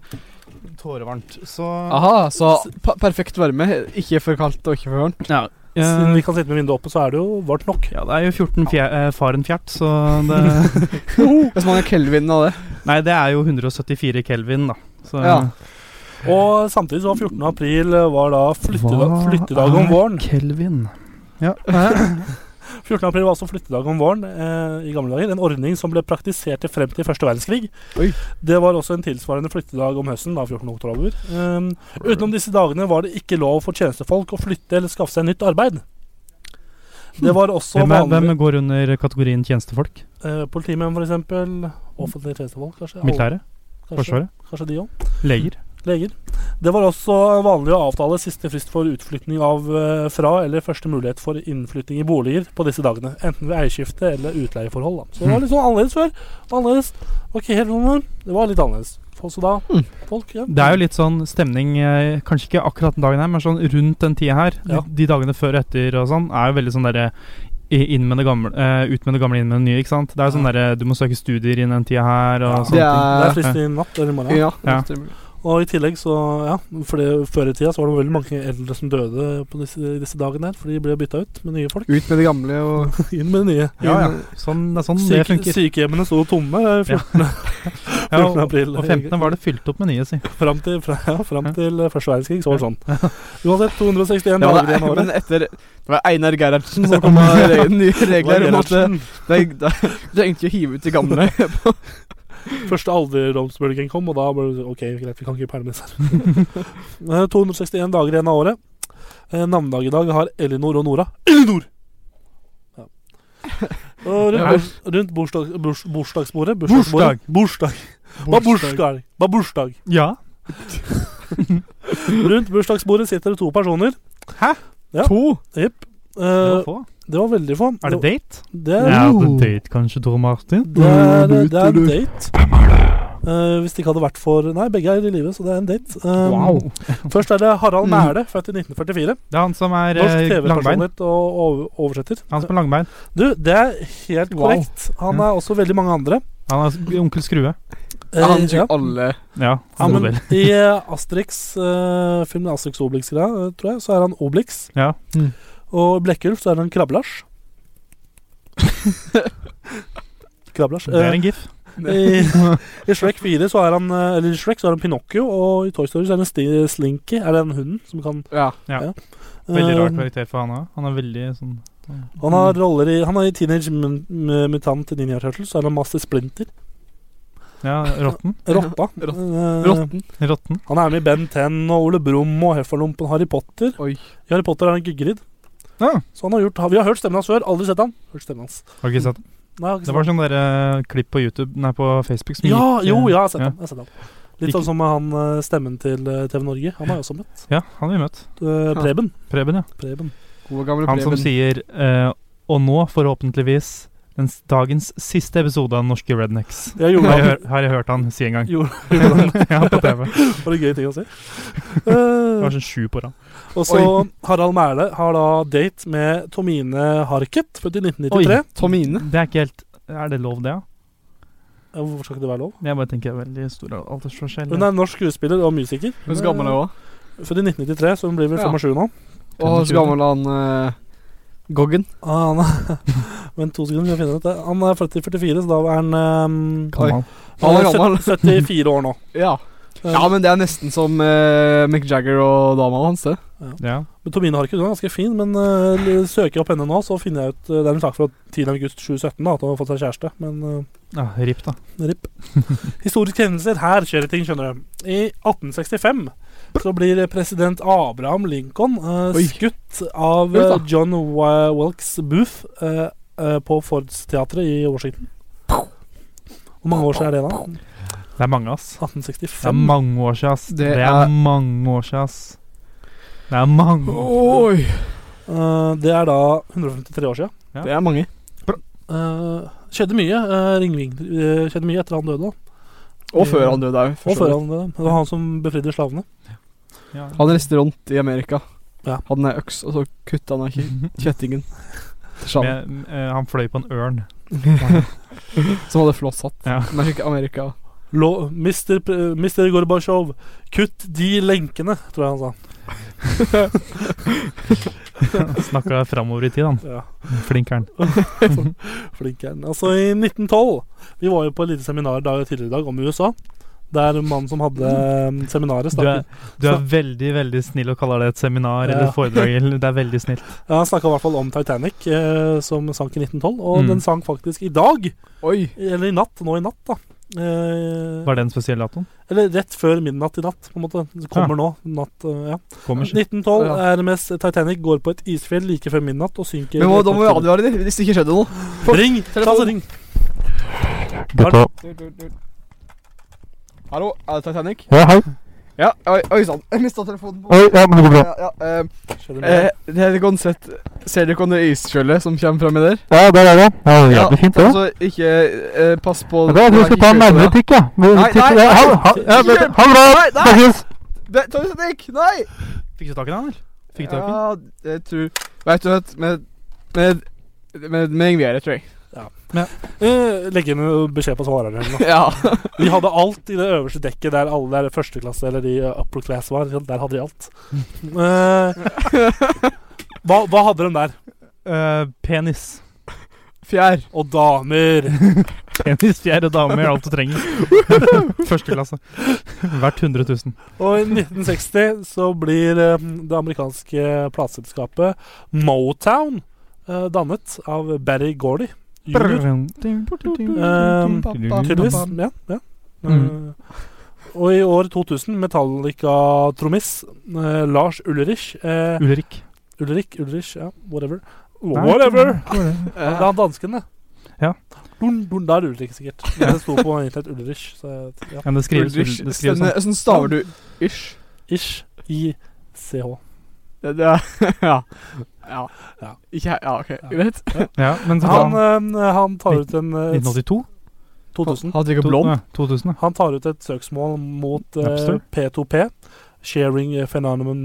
S5: tårevarmt. Så
S4: Aha, så pa perfekt varme. Ikke for kaldt og ikke for varmt.
S5: ja.
S2: Siden
S5: eh,
S2: vi kan sitte med vinduet oppe, så er det jo varmt nok.
S5: ja, det er jo 14 fjer, eh, faren fjert, så det
S4: Hvor mange kelvin av det?
S5: Nei, det er jo 174 kelvin, da. Så
S4: Ja.
S2: Og samtidig så var 14. april eh, var da flyttedag,
S5: Hva
S2: flyttedag om
S5: er
S2: våren.
S5: kelvin
S2: 14. april var altså flyttedag om våren eh, i gamle dager. En ordning som ble praktisert til frem til første verdenskrig.
S4: Oi.
S2: Det var også en tilsvarende flyttedag om høsten, da 14. oktober. Um, utenom disse dagene var det ikke lov for tjenestefolk å flytte eller skaffe seg nytt arbeid. Det var også
S5: Hvem, er, hvem
S2: vanlig
S5: går under kategorien tjenestefolk?
S2: eh, Politimenn, for eksempel. Offentlige tjenestefolk, kanskje.
S5: Militæret?
S2: Alle- kanskje,
S5: Forsvaret?
S2: kanskje de òg.
S5: Leger?
S2: leger. Det var også vanlig å avtale siste frist for utflytning av eh, fra eller første mulighet for innflytting i boliger på disse dagene. Enten ved eierskifte eller utleieforhold. Da. Så det var litt sånn annerledes før. Annerledes. Det var ikke helt sånn, det var litt annerledes. Folk- Så da,
S4: Mm.
S2: folk, ja.
S5: Det er jo litt sånn stemning eh, Kanskje ikke akkurat den dagen her, men sånn rundt den tida her.
S2: Ja.
S5: De, de dagene før og etter og sånn er jo veldig sånn derre i- inn med det gamle, eh, ut med det gamle, inn med det nye. ikke sant? Det er jo sånn derre Du må søke studier innen den tida her.
S2: Ja.
S5: og sånne
S4: Det
S5: ting.
S2: Det er
S4: er
S2: frist i natt eller i morgen.
S4: Eh, Ja.
S5: Ja.
S2: Og i tillegg så, ja, for det, før i tida så var det veldig mange eldre som døde på disse, i disse dagene her, for de ble bytta ut med nye folk.
S4: Ut med det gamle og
S2: Inn med de nye.
S5: Ja, ja. Sånn, det er sånn
S2: Syke,
S5: det funker.
S2: sykehjemmene sto tomme eh,
S5: Ja.
S2: 14.
S5: Ja,
S2: 14.
S5: og,
S2: april.
S5: og 15. var det fylt opp med nye, si.
S2: Fram til, fra, ja, fram
S5: Ja.
S2: til eh, første verdenskrig så var det sånn. Uansett, 261
S4: ja,
S2: dager
S4: det er,
S2: igjen av
S4: Men
S2: året.
S4: etter Det var Einar Gerhardsen som kom med re- nye regler om at det-
S2: Gerhardsen.
S4: det- det- Du trengte ikke å hive ut de gamle.
S2: Første alderdomsbølgen kom, og da ble det sånn, OK, greit, vi kan ikke permisere. Eh, 261 dager igjen av året. Eh, Navnedag i dag har Elinor og Nora. Elinor! Ja. Og rundt, bors, rundt bursdag, bors, bursdagsbordet bursdagsbordet- Bursdag. Hva er bursdag? Hva er bursdag?
S5: Ja.
S2: Rundt bursdagsbordet sitter det to personer.
S5: Hæ?
S2: Ja.
S4: To?
S2: Jepp. Eh,
S5: Det var få.
S2: det var veldig få.
S5: Er det date?
S2: Det,
S5: Er det date, kanskje, Tor Martin?
S2: det, er, det er en date. Hvem er det? hvis det ikke hadde vært for Nei, begge er i live, så det er en date. Eh, Først er det Harald Mæhle, født i 1944.
S5: Det er han som Mm. er eh,
S2: Norsk
S5: langbein.
S2: TV-personlighet og over- oversetter.
S5: Han som er langbein.
S2: Du, det er helt
S4: Wow.
S2: korrekt. Han er også veldig mange andre.
S5: Han er s- onkel Skrue.
S2: Eh,
S4: han
S2: ja.
S4: tok alle
S5: Ja,
S2: Ja,
S5: han
S2: men I eh, Asterix, eh, filmen Asterix og Obelix-greia, eh, tror jeg, så er han Obelix.
S5: Ja.
S4: Mm.
S2: Og i Blekkulf så er han Krabbelars. Krabbelars.
S5: Det
S2: Eh,
S5: er en gif.
S2: i, I Shrek 4 så er han eh, Eller i Shrek så er han Pinocchio, og i Toy Story så er han Sti Slinky. Er den hunden som kan
S4: Ja.
S2: eh,
S5: Veldig rar karakter for han òg. Han er veldig sånn
S2: Han har roller i Han er i Teenage Mun- M- Mutant Ninja Turtles, så er han Master Splinter.
S5: Ja, råtten.
S2: Rotta. Eh,
S4: Rotten.
S5: Råtten.
S2: Han er med i Ben 10 og Ole Brumm og Heffalumpen Harry Potter.
S4: Oi.
S2: I Harry Potter er han Gyggerid.
S5: Ja.
S2: Så han har gjort, vi har hørt stemmen hans før. Aldri sett han. Hørt stemmen hans.
S5: Har du ikke sett den?
S2: Nei, jeg har ikke
S5: Det
S2: sett
S5: var
S2: han.
S5: sånn der, eh, klipp på YouTube Nei, på Facebook som
S2: ja,
S5: gikk, eh,
S2: jo, jeg har sett
S5: ja.
S2: han. Jeg har sett han. Litt
S5: Ikke-
S2: sånn som med han eh, stemmen til eh, TV Norge. Han har jeg også møtt.
S5: Ja, han har vi møtt.
S2: Eh, Preben.
S5: Preben, ja.
S2: Preben.
S4: Gode gamle
S5: Han som
S4: Preben.
S5: sier eh, Og nå, forhåpentligvis, den s- dagens siste episode av Norske Rednecks.
S2: Jeg gjorde
S5: Har jeg,
S2: han.
S5: hør, har jeg hørt han si en gang.
S2: Gjorde, gjorde han.
S5: ja, på TV. Det
S2: Var det gøy ting å si?
S5: var
S2: Eh,
S5: sånn sju på rad.
S2: og så Harald Mæhle har da date med Tomine Harket, født i 1993.
S4: Tomine.
S5: Det er ikke helt Er det lov, det? Ja?
S2: Ja, Hvorfor skal ikke det være lov?
S5: Jeg bare tenker veldig stor aldersforskjell.
S2: Hun er norsk skuespiller og musiker.
S4: Hun er så gammel, hun òg.
S2: Født i 1993, så hun blir vel
S4: Ja.
S2: 25 nå.
S4: Og så gammel han eh, Goggen.
S2: Ah, han er, vent to sekunder, skal jeg finne dette. Han er født i 44, så da er han ehm,
S4: Oi.
S5: Gammel.
S4: Han er
S2: sytt-
S4: gammel.
S2: 74 år nå.
S4: Ja.
S2: Eh,
S4: ja, men det er nesten som eh, Mick Jagger og dama hans, det.
S5: Ja.
S2: men Tomine Harket hun er ganske fin, men eh, l- søker jeg opp henne nå, så finner jeg ut eh, Det er en sak fra 10.8.2017 da, at hun har fått seg kjæreste, men
S5: ja. Ripp, da.
S2: eh, ripp. Historiske hendelser. Her skjer det ting, skjønner du. I 1865 så blir president Abraham Lincoln eh,
S4: Oi.
S2: skutt av
S4: Kult, da.
S2: eh, John Wa- Wilkes Booth eh, eh, på Fords teatret i Washington. Hvor mange år siden er det, da?
S5: Det er mange, ass. Det er
S2: 1865.
S5: mange år siden, ass.
S4: Det
S5: Det er,
S4: er-
S5: mange år siden, ass. Det er mange år
S4: Oi!
S2: Eh, det er da 153 år siden.
S4: Det er mange.
S2: Eh, skjedde mye. eh, Ringvin eh, skjedde mye etter han døde, da.
S4: Og før han døde òg.
S2: Og før han døde. Det var han som befridde slavene.
S5: ja.
S4: Han reiste rundt i Amerika.
S2: Ja.
S4: Hadde en øks, og så kutta han av kje- kjettingen. til Shaman,
S5: Med, eh, han fløy på en ørn.
S4: Som hadde flott hatt.
S5: Ja.
S4: Merk Amerika.
S2: Lå, Mister, P- Mister Gorbatsjov, kutt de lenkene, tror jeg han sa.
S5: Snakka framover i tid, han.
S2: Ja,
S5: Flinkeren.
S2: Flink er han. Altså, i 1912 Vi var jo på et lite seminar da, tidligere i dag om USA. Der mannen som hadde eh, seminaret,
S5: Du er,
S2: snakket,
S5: du er veldig veldig snill og kaller det et seminar
S2: Ja.
S5: eller et foredrag. eller- Det er veldig snilt.
S2: ja, han snakka i hvert fall om Titanic, eh, som sank i 1912. Og
S5: Mm.
S2: den sank faktisk i dag,
S4: Oi!
S2: eller i natt, nå i natt, da. Eh,
S5: Var det en spesiell dato?
S2: Eller rett før midnatt i natt, på en måte. Det kommer nå. Natt, øh, ja.
S5: Kommer ikke.
S2: 1912
S4: Ja.
S2: er det mest Titanic går på et isfjell like før midnatt og synker
S4: Men må, da må vi advare dem, hvis det ikke skjedde noe. folk.
S2: Ring! Ta
S4: Telefon.
S2: oss og ring!
S4: Hallo, er det Titanic?
S3: Ja, hei.
S4: Ja, oi, oi sann. Jeg mista telefonen. på-
S3: Oi, ja, men det går bra.
S4: Ja, ja, eh,
S2: Skjer det
S4: eh,
S2: mye?
S4: det er et konsert Ser dere om det isskjølet som kommer fram i der?
S3: Ja, der er det. Ja, det er jævlig fint, det.
S4: Altså, ikke eh, pass på
S3: Ja, det er, du skal ta en nærmere tikk, ja. Men,
S4: Nei,
S3: tikk- ja,
S4: nei, nei.
S3: ha- ha- ja, vet du, Ha det bra!
S4: Nei, nei.
S3: Snakkes!
S4: Det- Thomas Henrik, nei!
S5: Fikk du tak i den, eller? Fikk du tak i den?
S4: Ja, jeg tror Vet du hva, med Med Med, med Ingviere, tror jeg.
S2: Eh, Legg inn øh, beskjed på svareren. eller noe.
S4: Ja.
S2: Vi hadde alt i det øverste dekket der alle der førsteklasse eller de øh, upper class var. ikke sant? Der hadde de alt. Eh, hva, hva hadde de der?
S5: Eh, penis.
S4: Fjær.
S2: Og damer!
S5: Penis, fjerde damer, alt du trenger. Første klasse. Hvert 100 000.
S2: Og i 1960 så blir eh, det amerikanske plateselskapet Motown eh, dannet av Barry Gordy. jr. Ehm, Tydeligvis.
S5: Eh,
S2: Ja. ja.
S5: Mm.
S2: Eh, og i år 2000 Metallica-trommis eh, Lars Ulrich eh,
S5: Ulrik.
S2: Ulrik, Ulrich, ja, whatever.
S5: Nei,
S2: Whatever!
S5: ikke det.
S2: Det er han dansken, det.
S5: Ja.
S2: Dun, dun, der lurer det ikke sikkert. Men det sto på internett Ulrich, så jeg- ja.
S5: Men det skrives,
S4: Ulrich.
S5: det skrives sånn.
S4: Stemme- Sånn staver du ish?
S2: Ish. I-C-H.
S4: Det, det er, ja. ja.
S2: Ja.
S4: Ikke her Ja, OK.
S2: Ja.
S4: Greit.
S5: Ja, men så
S2: Han,
S5: da-
S2: eh, han tar ut en eh,
S5: 1982?
S2: 2000.
S4: Hadde ikke
S5: To-
S4: blond.
S5: nei, 2000, ja.
S2: Han tar ut et søksmål mot eh,
S5: Napster?
S2: P2P. Sharing Phenomenon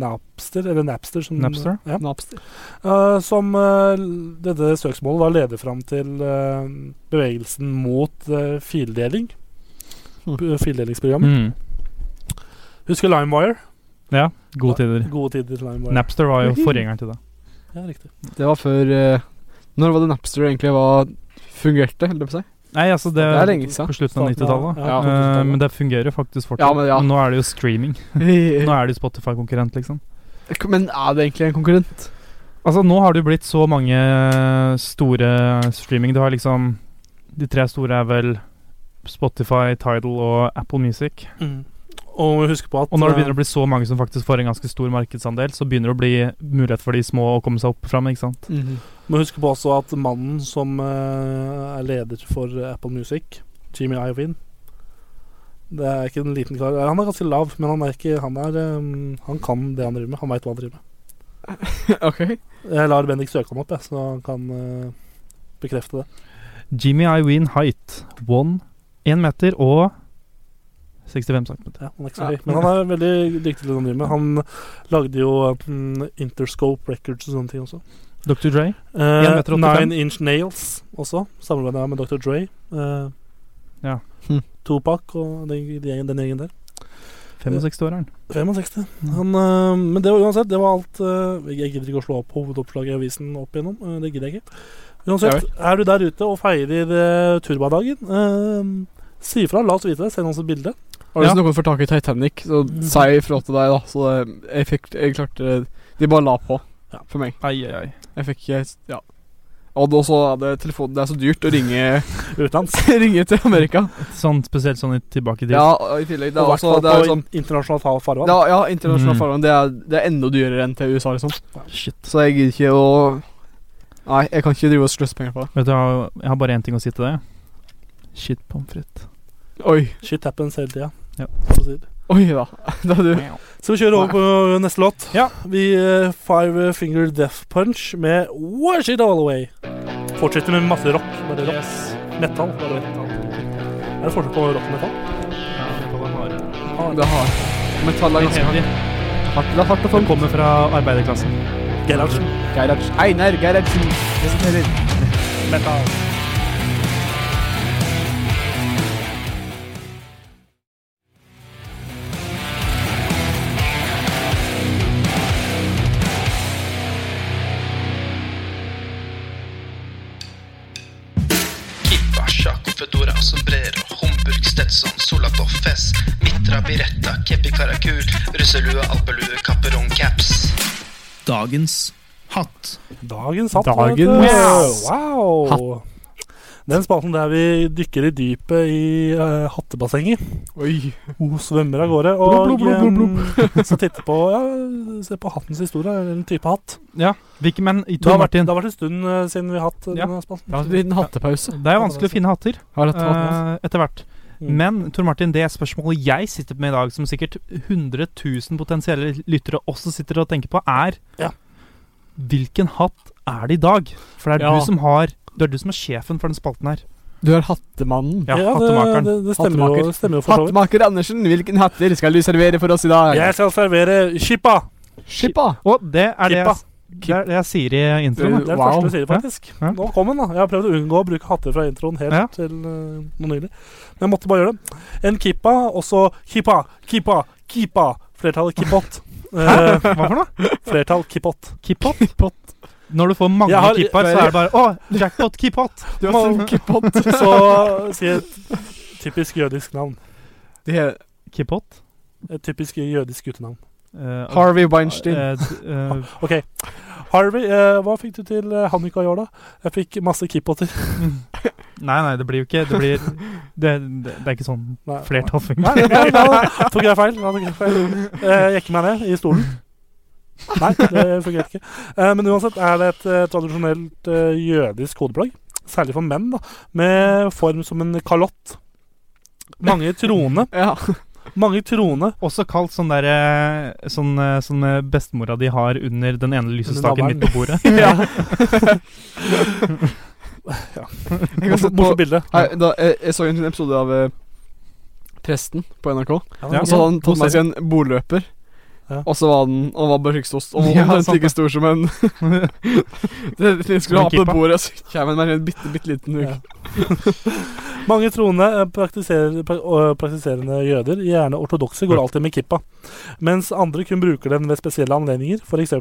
S2: Napster, eller Napster. Som,
S5: Napster?
S2: Ja.
S4: Napster.
S2: Eh, som eh, l- dette søksmålet da leder fram til eh, bevegelsen mot eh, fildeling.
S5: Hm.
S4: Hmm.
S2: B- Fildelingsprogram.
S5: Mm.
S2: Husker LimeWire?
S5: Ja, gode tider.
S2: Gode tider til LimeWire.
S5: Napster var jo forgjengeren til det.
S2: Ja, riktig.
S4: Det var før eh, Når var det Napster egentlig var fungerte? Holdt jeg på å si.
S5: Nei, altså det,
S4: Det er lenge siden.
S5: På slutten av 90-tallet.
S2: Ja, sånn
S4: Ja.
S5: Sånn Eh, men det fungerer jo faktisk fortsatt.
S4: Ja, men ja.
S5: nå er det jo streaming. Nå er det jo Spotify-konkurrent, liksom.
S4: Men er det egentlig en konkurrent?
S5: Altså, nå har det jo blitt så mange eh, store streaming. Du har liksom De tre store er vel Spotify, Tidal og Apple Music.
S2: Mm. Og husk på at
S5: Og når det
S2: eh,
S5: begynner å bli så mange som faktisk får en ganske stor markedsandel, så begynner det å bli mulighet for de små å komme seg opp fram, ikke sant?
S2: Må huske på også at mannen som eh, er leder for Apple Music, Jimmy Iovine Det er ikke en liten kar. Han er ganske lav, men han er ikke Han, er, eh, han kan det han driver med. Han veit hva han driver med.
S4: OK.
S2: Jeg lar Bendik søke han opp, jeg, så han kan eh, bekrefte det.
S5: Jimmy Iween Height. One, én meter og 65 cm.
S2: Ja, han er ikke så høy, men han er veldig dyktig til det han driver med. Han lagde jo mm, Interscope Records og sånne ting også.
S5: Dr. Dre.
S2: Eh,
S5: 1,85.
S2: Nine Inch Nails også. Samarbeidet med Dr. Dre. Eh,
S5: Ja.
S4: Hm.
S2: Tupac og den, den, den gjengen der.
S5: 65-åreren.
S2: 65. Han, øh, men det var uansett, det var alt øh, Jeg gidder ikke å slå opp hovedoppslaget i avisen opp igjennom. øh, det gidder jeg ikke. Uansett, er du der ute og feirer øh, turbadagen, øh, si ifra. La oss vite det. Send oss et bilde.
S4: Og hvis
S5: Ja.
S4: noen får tak i Titanic, så
S2: Mhm.
S4: si ifra til deg, da. Så det- jeg fikk Jeg klarte De bare la på
S2: Ja.
S4: for meg.
S5: Ai, ai, ai.
S4: Jeg fikk eh, Ja. Og da så er det telefonen Det er så dyrt å ringe
S2: Utenlands.
S4: Ringe til Amerika.
S5: Sånn, spesielt sånn i tilbake til
S4: Ja, og i tillegg. Det er
S2: Og i hvert
S4: også
S2: fall
S4: Det er
S2: på Mhm.
S4: sånn
S2: in- internasjonalt hav- farvann.
S4: ja, ja, internasjonal
S5: Mm.
S4: farvann. Det, er- det er enda dyrere enn til USA, liksom.
S5: Shit.
S4: Så jeg gidder ikke å Nei, jeg kan ikke drive og sløse penger på det.
S5: Vet du, jeg har- jeg har bare én ting å si til deg. Shit pommes frites.
S4: Oi.
S2: Shit happens hele tida.
S5: Ja.
S2: så å si det.
S4: Oi da. Da du
S2: Skal vi kjøre over på neste låt?
S5: Ja.
S2: Vi øh, Five Finger Death Punch med Wash It All Away. Fortsetter med masse rock. Bare rock. Metal. Bare metal. Er det forskjell på rock og metal? Ah,
S4: Ja, Det er hardt. Metall er ganske hardt. hardt. Det er hardt å få
S5: Som kommer fra arbeiderklassen.
S2: Gerhardsen.
S4: Gerhards. Einar Gerhardsen presenterer
S2: Metal.
S6: Kippa, sjakk, fedora, sombrero, Homburg, Stetson, Solatov, Fess, Mitra, Biretta, Kepi, Karakul, russelue, alpelue, kapperong, caps.
S1: Dagens hatt.
S2: Dagens hatt.
S4: Dagens
S2: vet du.
S4: hatt.
S2: eh, Wow. Den spalten der vi dykker i dypet i eh, hattebassenget.
S4: Oi.
S2: Og svømmer av gårde. Og
S5: Blub, blub, blub, blub,
S2: eh, så titter på ja, Se på hattens historie, eller en type hatt.
S5: Ja. Hvilke menn i
S2: Det
S5: Tor
S2: har, vært,
S5: Martin?
S2: det har vært en stund eh, siden vi har hatt eh,
S5: Ja.
S2: denne spalten.
S4: Det var en liten hattepause.
S5: Det er jo vanskelig å finne hatter
S4: Har dette hatt
S5: eh, etter hvert.
S2: altså. Mm.
S5: Men Tor Martin, det spørsmålet jeg sitter med i dag, som sikkert 100 000 potensielle lyttere også sitter og tenker på, er
S2: Ja.
S5: Hvilken hatt er det i dag? For det er
S4: Ja.
S5: du som har Det er du som er sjefen for den spalten her.
S4: Du er hattemannen.
S5: Ja,
S2: det,
S5: hattemakeren.
S2: det, det stemmer jo,
S4: Hattemaker.
S2: det stemmer jo for så vidt.
S4: Hattemaker Andersen, hvilken hatter skal du servere for oss i dag?
S2: Jeg skal servere skippa.
S4: Skippa.
S5: Og det er det jeg,
S2: Kippa.
S5: det er det jeg sier i introen.
S2: Det er det
S4: Wow.
S2: første du sier, faktisk.
S5: Ja.
S2: Nå kom den, da. Jeg har prøvd å unngå å bruke hatter fra introen helt
S5: Ja.
S2: til eh, nå nylig. Men jeg måtte bare gjøre det. En kippa, og så kippa, kippa, kippa. Flertallet kippot. Eh,
S5: Hva for noe?
S2: flertall kippot.
S5: Kippot? Når du får mange
S2: Jeg har-
S5: kippar, så er det bare Å, jackpot, kippot!
S4: Du har
S2: Mal-
S4: fått kippot.
S2: Så si et typisk jødisk navn.
S4: Det er
S5: Kippot?
S2: Et typisk jødisk guttenavn.
S5: Eh,
S4: Harvey Weinstein.
S5: eh, d- eh,
S2: OK. Harvey, eh, hva fikk du til eh, Hanukka i år, da? Jeg fikk masse kippoter.
S5: nei, nei, det blir jo ikke Det blir Det, det, det er ikke sånn
S2: Nei.
S5: flertall
S2: Nei,
S5: fungerer.
S2: nei, nei, da tok jeg feil. Da tok jeg feil. Eh, jekker meg ned i stolen. Nei, det fungerte ikke. Eh, men uansett er det et eh, tradisjonelt eh, jødisk kodeplagg. særlig for menn, da, med form som en kalott. Mange troende.
S4: Ja.
S2: Mange troende.
S5: Også kalt sånn der eh, Sånn, eh, sånn eh, bestemora de har under den ene lysestaken
S2: navlen.
S5: midt på bordet.
S2: Ja.
S4: Jeg kan sette på
S2: Morsomt bilde.
S4: Nei, da, jeg, jeg så en episode av eh, Presten på NRK.
S2: det er
S4: Og så hadde han
S5: god
S4: tatt med seg en boløper.
S2: Ja.
S4: Og så var den Han var bare ikke så stor Og
S5: Ja,
S4: var omtrent
S5: sant
S4: like stor som en det, det
S5: Som
S4: skulle
S5: en
S4: ha på
S5: kippa.
S4: bordet, og så kommer den med en bitte, bitte liten huk.
S2: Ja. Mange troende eh, praktiserer, pra- og praktiserende jøder, gjerne ortodokse, går alltid med kippa. Mens andre kun bruker den ved spesielle anledninger, f.eks.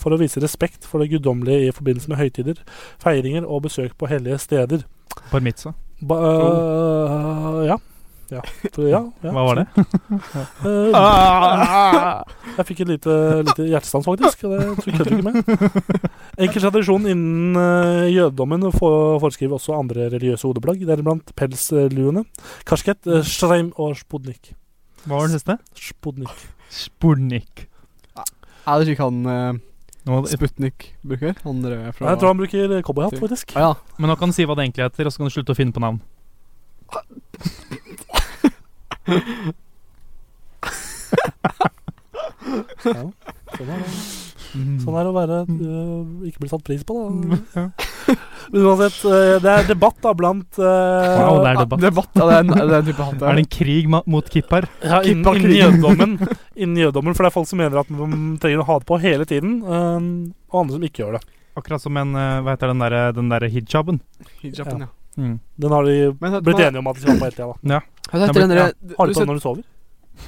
S2: for å vise respekt for det guddommelige i forbindelse med høytider, feiringer og besøk på hellige steder.
S5: Bar mitza.
S2: Ba, øh, ja. Ja, tror- ja, ja.
S5: Hva var det?
S2: Eh,
S5: Ah!
S2: jeg fikk et lite, lite hjertestans, faktisk. og Det tror jeg kødder ikke med. Enkel tradisjon innen eh, jødedommen for, foreskriver også andre religiøse hodeplagg, deriblant pelsluene, kasket, eh, shreim og spudnik.
S5: Hva var det siste?
S2: Spudnik.
S5: Spornik.
S4: Er det ikke han eh,
S5: Nå,
S4: Sputnik bruker? Han drev fra
S2: Jeg tror han bruker cowboyhatt, faktisk.
S4: ah, ja.
S5: men nå kan du si hva det egentlig heter, og så kan du slutte å finne på navn.
S2: Ja, sånn, er det. sånn er det å være
S5: Mm.
S2: eh, ikke bli satt pris på, da. Men uansett, eh, det er debatt da blant eh,
S5: Wow, det er
S4: Ah,
S5: debatt.
S4: debatt. Ja, det er en, det er en type hatt.
S5: Er det en krig ma- mot kipper?
S2: Ja, innen,
S4: Kippa
S2: innen
S4: krigen.
S2: jødedommen. Innen jødedommen, For det er folk som mener at man trenger å ha det på hele tiden, øhm, og andre som ikke gjør det.
S5: Akkurat som en eh, Hva heter den derre den der hijaben?
S4: Hijaben, ja.
S5: Mm.
S2: Den har de
S4: Men det-
S2: blitt enige om at de skal ha på hele tida. da.
S4: Har du sett den derre
S2: Har
S4: Har
S2: du
S4: du
S2: på
S4: sett-
S2: den når du sover?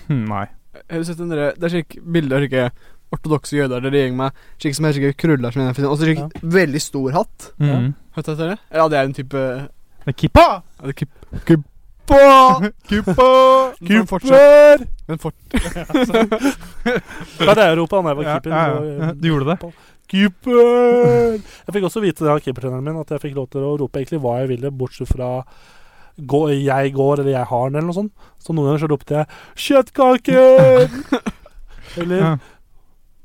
S5: Hm, Nei.
S4: har du sett den derre Det er slik bilde av slike ortodokse jøder der de gjenger med slik som er slike krøller som er Og så slik veldig stor hatt.
S5: Mm.
S4: Har du sett det? Ja, det er en type Er
S5: Det er kippa!
S4: det kip... Kuppa!
S5: Kippa!
S4: Men fortsatt, men fort,
S2: Ja, det er Europa, han er vel
S5: Ja,
S2: keeper.
S5: ja, ja.
S2: så, øh,
S5: Du gjorde det?
S2: Keeper! Jeg fikk også vite det av keepertreneren min, at jeg fikk lov til å rope egentlig hva jeg ville, bortsett fra gå, 'jeg går' eller 'jeg har den', eller noe sånt. Så noen ganger så ropte jeg 'kjøttkaker'! eller
S5: Ja.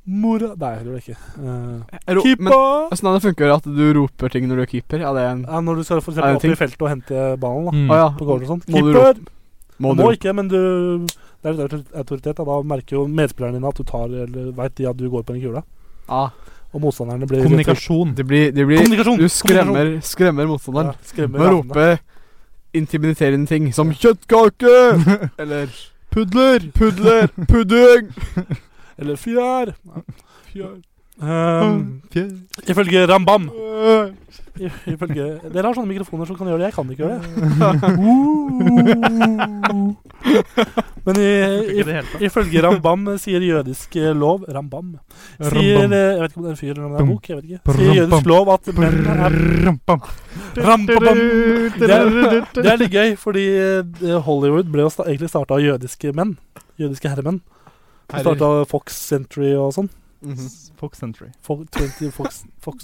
S2: 'mora' Nei, det gjorde jeg ikke. Eh,
S4: ro, Men
S2: Keeper!
S4: åssen er det funker at du roper ting når du er keeper? Ja, det er en
S2: Ja, når du skal for
S4: Er det
S2: eksempel opp
S4: ting?
S2: i feltet og hente ballen da,
S5: Mm.
S4: Å ja.
S2: på gården og sånn.
S4: Må du
S2: Keeper!
S4: Må
S2: Må,
S4: du
S2: ikke, men du Det er litt autoritet. Da, da merker jo medspillerne dine at du tar Eller veit de at du går på den kula.
S4: Ja.
S2: Og motstanderne blir
S5: Mm. Kommunikasjon.
S4: Det blir, det blir
S2: Kommunikasjon!
S4: Du skremmer, skremmer
S2: kommunikasjon.
S4: motstanderen
S2: Ja, skremmer
S4: med å rope intimiderende ting som 'kjøttkake' eller 'pudler', 'pudler', 'pudding'.
S2: navnet. Eller fjær. Fjær. Um, ifølge Rambam I, ifølge, Dere har sånne mikrofoner som kan gjøre det. Jeg kan ikke gjøre det. Men i, i,
S5: Ikke i det hele tatt.
S2: Ifølge Rambam sier jødisk eh, lov Rambam sier
S5: Rambam.
S2: eh, Jeg vet ikke om det er en fyr eller om det er en bok. jeg vet ikke Sier
S5: Rambam.
S2: jødisk lov at menn er
S5: Rampam.
S2: Rampabam. Det er, det er litt gøy, fordi eh, Hollywood ble jo sta egentlig starta av jødiske menn. Jødiske herremenn.
S4: Herrer.
S2: Starta Fox Century og sånn.
S4: Mhm.
S5: Fox Century.
S2: Fo- 20 Fox Fox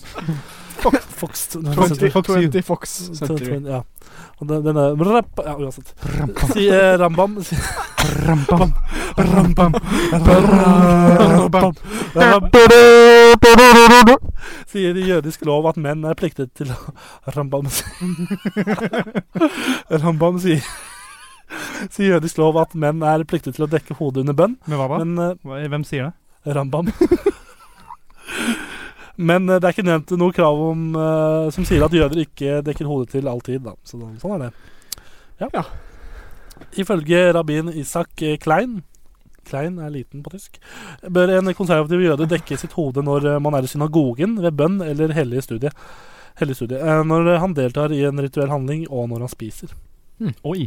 S2: Fox
S5: Fox-
S2: 20
S5: Fox you.
S4: 20 Fox Century.
S2: Ja. Og den, den er Rapp- Ja, uansett. Sier eh, Rambam sier
S5: Rampam.
S2: Rambam.
S5: Rampam.
S2: Rambam.
S3: Ba-da-ba-da-da-da-da.
S2: sier i jødisk lov at menn er pliktet til å Rambam sier Rambam sier Sier jødisk lov at menn er pliktet til å dekke hodet under bønn,
S5: Men hva da?
S2: men eh,
S5: Hva- Hvem sier det?
S2: Rambam Men eh, det er ikke nevnt noe krav om eh, som sier at jøder ikke dekker hodet til all tid, da. Så, da- sånn er det. Ja.
S4: Ja.
S2: Ifølge rabbin Isak eh, Klein Klein er liten på tysk. Bør en konservativ jøde dekke sitt hode når eh, man er i synagogen, ved bønn eller hellig studie? Hellig studie. eh, Når han deltar i en rituell handling, og når han spiser.
S5: Oi.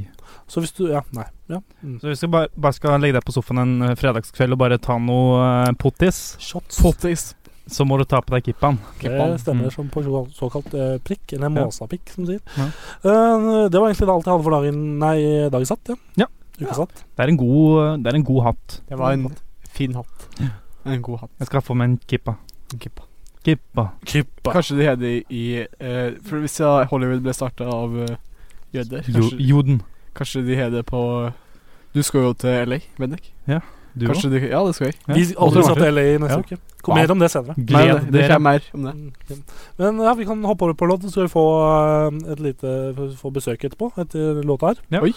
S2: Så hvis du Ja, nei. Ja. Mm.
S5: Så hvis du bare, bare skal legge deg på sofaen en eh, fredagskveld og bare ta noe eh, pottis,
S2: Shots.
S4: Pottis.
S5: så må du ta på deg kippaen.
S2: Det stemmer
S5: Mm.
S2: som på så- såkalt eh, prikk, eller
S5: Ja.
S2: måsapikk, som de sier.
S5: Ja.
S2: Eh, det var egentlig alt jeg hadde for dagen Nei, dagen satt, ja.
S5: Ja.
S2: Ukesatt.
S5: Det er en god, eh, det er en god hatt.
S4: Det var en fin hatt. En god hatt.
S5: Jeg skal få meg en kippa.
S4: En kippa.
S5: Kippa.
S2: Kippa.
S4: Kanskje det heter i, i eh, For hvis ja, Hollywood ble starta av eh, jøder
S5: Jo,
S4: kanskje,
S5: joden.
S4: kanskje de heter det på Du skal jo til LA, Bendik.
S5: Ja. Du
S4: Kanskje du Ja, det skal jeg.
S5: Ja.
S2: Vi
S5: Håper
S2: aldri
S5: det
S2: satt
S5: var
S2: LA neste
S5: Ja.
S2: uke. Kom Mer om det senere. Mm,
S5: det.
S4: Nei,
S5: Gled
S4: det, det
S5: dere.
S4: skjer mer om det.
S2: Men ja, vi kan hoppe over på låt, så skal vi få eh, et lite få besøk etterpå. Etter låta her.
S5: Ja.
S4: Oi.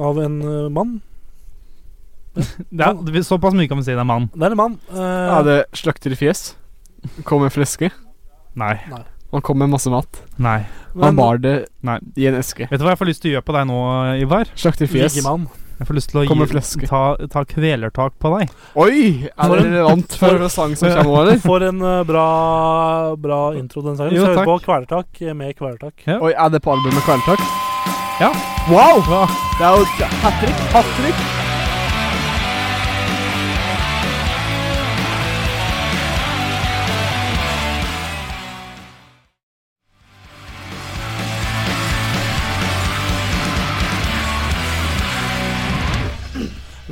S2: Av en eh, mann.
S5: Det er, det- såpass mye kan vi si det er mann.
S2: Det er en mann. eh,
S4: Er det slakterfjes? Kom en fleske.
S5: Nei.
S4: Han kom med masse mat.
S5: Nei.
S4: Han
S2: men-
S4: bar det
S5: Nei.
S4: i en eske.
S5: Vet du hva jeg får lyst til å gjøre på deg nå, Ivar?
S4: Slakterfjes.
S2: Liggemann.
S5: Jeg får lyst til å
S4: Kom med
S5: gi,
S4: fleske.
S5: ta, ta kvelertak på deg.
S4: Oi! Er
S2: For
S4: det
S2: en-
S4: relevant
S2: for-
S4: for en sang som kommer nå, eller?
S2: For en eh, bra, bra intro den sangen.
S5: Jo,
S2: Så hør
S5: takk.
S2: på Kvelertak eh, med Kvelertak.
S5: Ja.
S4: Oi, er det på albumet Kvelertak?
S5: Ja.
S4: Wow!
S5: Hva?
S4: Det er jo hat trick, hat trick.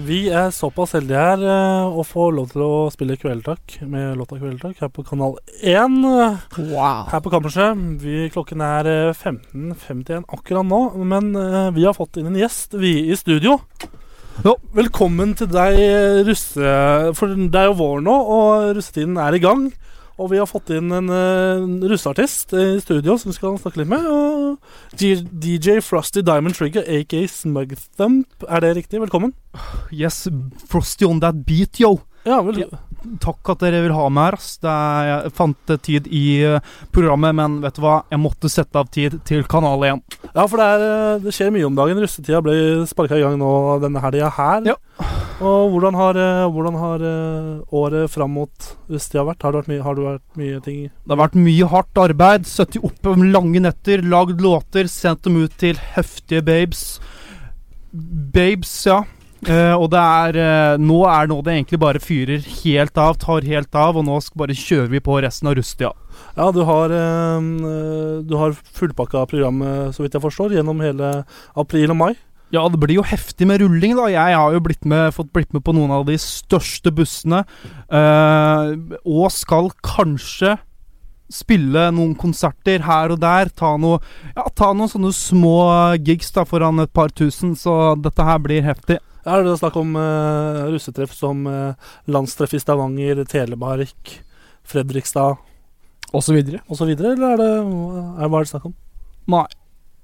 S2: Vi er såpass heldige her eh, å få lov til å spille Kvelertak med låta Kvelertak her på Kanal 1 eh,
S4: Wow.
S2: her på kammerset. Vi, klokken er eh, 15.51 akkurat nå, men eh, vi har fått inn en gjest, vi i studio. Velkommen til deg, eh, russe... For det er jo vår nå, og russetiden er i gang. Og vi har fått inn en eh, russeartist eh, i studio som vi skal snakke litt med. Og D- DJ Frosty Diamond Trigger, aka Smugthump. Er det riktig? Velkommen.
S5: Yes, frosty on that beat, yo.
S2: Ja, vel,
S5: Ja. Takk at dere vil ha meg her. ass. Det er, jeg fant eh, tid i eh, programmet, men vet du hva? Jeg måtte sette av tid til Kanal 1.
S2: Ja, for det, er, eh, det skjer mye om dagen. Russetida ble sparka i gang nå denne helga her.
S5: Ja.
S2: Og hvordan har, eh, hvordan har eh, året fram mot russetida vært? Har det vært mye, har det vært mye ting
S5: Det har vært mye hardt arbeid, sittet oppe om lange netter, lagd låter, sendt dem ut til heftige babes. Babes, ja. Eh, og det er eh, Nå er nå det egentlig bare fyrer helt av, tar helt av, og nå sk- bare kjører vi på resten av Rustia.
S2: Ja, du har, eh, eh, du har fullpakka programmet, så vidt jeg forstår, gjennom hele april og mai.
S5: Ja, det blir jo heftig med rulling, da. Jeg har jo blitt med, fått blitt med på noen av de største bussene. eh, og skal kanskje spille noen konserter her og der. Ta, noe, ja, ta noen sånne små gigs da foran et par tusen, så dette her blir heftig.
S2: Ja, er det snakk om eh, russetreff som eh, landstreff i Stavanger, Telemark, Fredrikstad
S4: Og så videre.
S2: osv., eller er det, er, hva er det snakk om?
S5: Nei,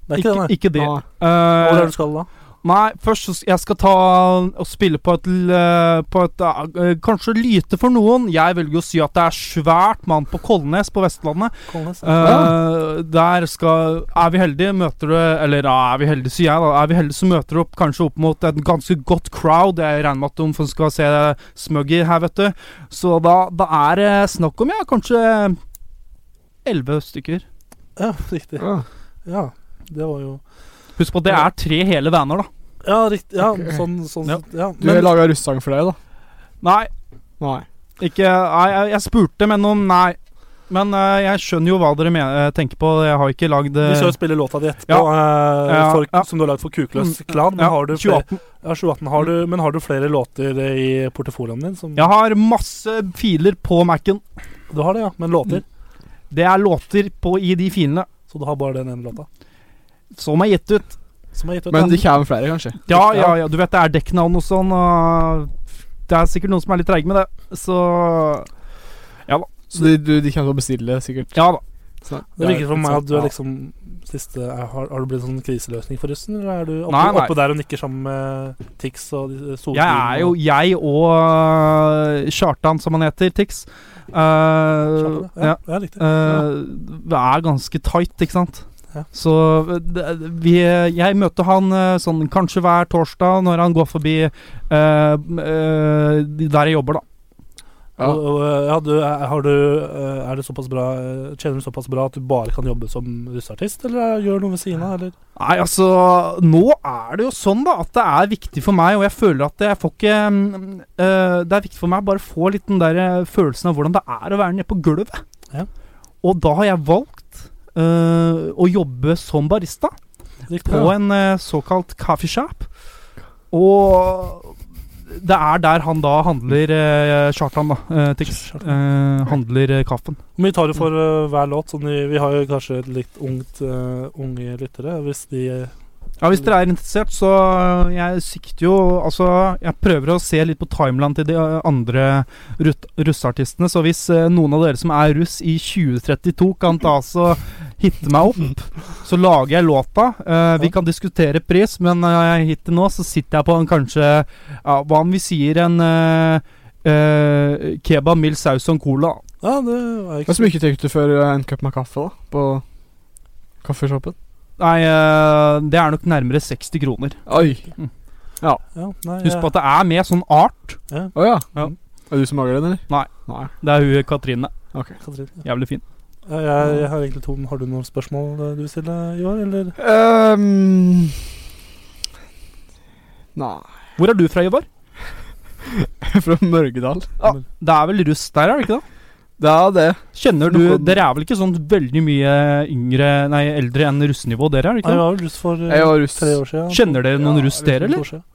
S2: Det er ikke,
S5: ikke,
S2: det, nei.
S5: ikke det.
S4: Ja.
S2: Hvor er det
S5: Eh,
S2: du skal da?
S5: nei, først så s- jeg skal ta og spille på et, l- på et eh, Kanskje lite for noen. Jeg velger å si at det er svært mann på Kolnes på Vestlandet.
S2: Kolnes?
S5: Eh, der skal Er vi heldige, møter du Eller ja, er vi heldige, sier jeg, da. Er vi heldige, så møter du opp, kanskje opp mot et ganske godt crowd. Jeg regner med at de folk skal se Smuggy her, vet du. Så da, da er det snakk om, ja, kanskje elleve stykker.
S2: Ja, riktig. Ja, det var jo
S5: Husk på at det er tre hele vaner, da.
S2: Ja, riktig. Ja,
S4: Ok.
S2: sånn, sånn
S5: Ja.
S2: sett. Ja.
S4: Du har
S2: Men,
S4: laga russesang for deg, da?
S5: Nei,
S4: Nei.
S5: ikke Nei, jeg, jeg spurte, men om Nei. Men eh, jeg skjønner jo hva dere men, eh, tenker på. Jeg har ikke lagd eh,
S2: vi skal jo spille låta di etterpå, eh,
S5: Ja,
S2: for,
S5: ja. Mm,
S2: som du har lagd for Kukløs Klan. Men,
S5: ja, Mm.
S2: har du flere,
S5: 2018.
S2: ja, 2018 har du, men har du flere låter eh, i portefolioen din? Som,
S5: Jeg har masse filer på Mac-en.
S2: Du har det, ja. Men
S5: Mm.
S2: låter?
S5: Det er låter på, i de filene.
S2: Så du har bare den ene låta?
S5: som er gitt ut.
S2: Som er gitt ut?
S4: Men
S2: da.
S4: det kommer flere, kanskje?
S5: Ja, ja, ja, du vet det er dekknavn og sånn, og det er sikkert noen som er litt treige med det, så
S4: Så de, du, de kommer til å bestille, sikkert?
S5: ja da.
S4: Snart.
S2: det virker for meg at du
S4: Ja.
S2: er liksom siste er, har, har du blitt sånn kriseløsning for russen, eller er du oppe,
S5: Nei, nei.
S2: oppe der og nikker sammen med Tix og de- Solgrim?
S5: Jeg er jo
S2: og-
S5: jeg og Kjartan, som han heter, Tix. eh,
S2: Skjønner du?
S5: ja,
S2: ja, ja, riktig.
S5: eh, det er ganske tight, ikke sant?
S2: Ja.
S5: Så det, vi, jeg møter han eh, sånn kanskje hver torsdag når han går forbi eh, eh, der jeg jobber, da.
S4: Ja.
S2: Og, og, eh, ja, du, er, har du, eh, er det såpass bra eh, Tjener du såpass bra at du bare kan jobbe som russeartist, eller eh, gjør du noe ved siden av? Eller?
S5: Nei, altså Nå er det jo sånn da at det er viktig for meg, og jeg føler at jeg får ikke mm, øh, Det er viktig for meg å bare få litt den der øh, følelsen av hvordan det er å være nede på gulvet.
S2: Ja.
S5: Og da har jeg valgt øh, å jobbe som barista
S2: Riktig.
S5: på en øh, såkalt coffee shop. Og det er der han da handler øh, Kjartan, da. øh, Tix. øh, handler øh, kaffen.
S2: Hvor mye tar du for eh, hver låt? Sånn, i- vi har jo kanskje litt ungt, eh, unge lyttere, hvis de
S5: Ja, Hvis dere er interessert, så øh, jeg sikter jo Altså, jeg prøver å se litt på timeland til de øh, andre rut- russeartistene. Så hvis øh, noen av dere som er russ i 2032 kan ta oss og hitte meg opp, så lager jeg låta. Eh, vi kan diskutere pris, men øh, hittil nå så sitter jeg på en kanskje ja, Hva om vi sier en øh, øh, kebab, mild saus og en cola?
S2: Ja, det var
S4: Hva
S2: ikke
S4: som ikke tenkte du før eh, en cup med kaffe, da? På kaffeshoppen?
S5: Nei, øh, det er nok nærmere 60 kroner.
S4: Oi.
S2: ja, nei,
S5: Husk på at det er med sånn art.
S4: Å ja. Mm.
S5: Ja.
S4: Er det du som lager den, eller?
S5: Nei.
S4: Nei.
S5: Det er hun Katrine.
S2: jeg, Katrine.
S5: Jævlig fin.
S2: Ja, jeg, jeg har egentlig to men Har du noen spørsmål eh, du vil stille i år, eller?
S4: Ehm, nei
S5: Hvor er du fra, Ivar?
S4: Fra Mørgedal.
S5: Ja, det er vel russ der, er det ikke det?
S4: Det er det.
S5: Kjenner du
S4: Noe-
S5: Dere er vel ikke sånn veldig mye yngre Nei, eldre enn russenivå, dere? er det
S2: Nei, jeg
S5: ikke det?
S2: var vel russ for eh,
S4: Jeg var russ.
S2: tre år siden.
S5: Kjenner dere noen
S4: Ja,
S5: russ, dere,
S2: To
S5: eller?
S2: år siden.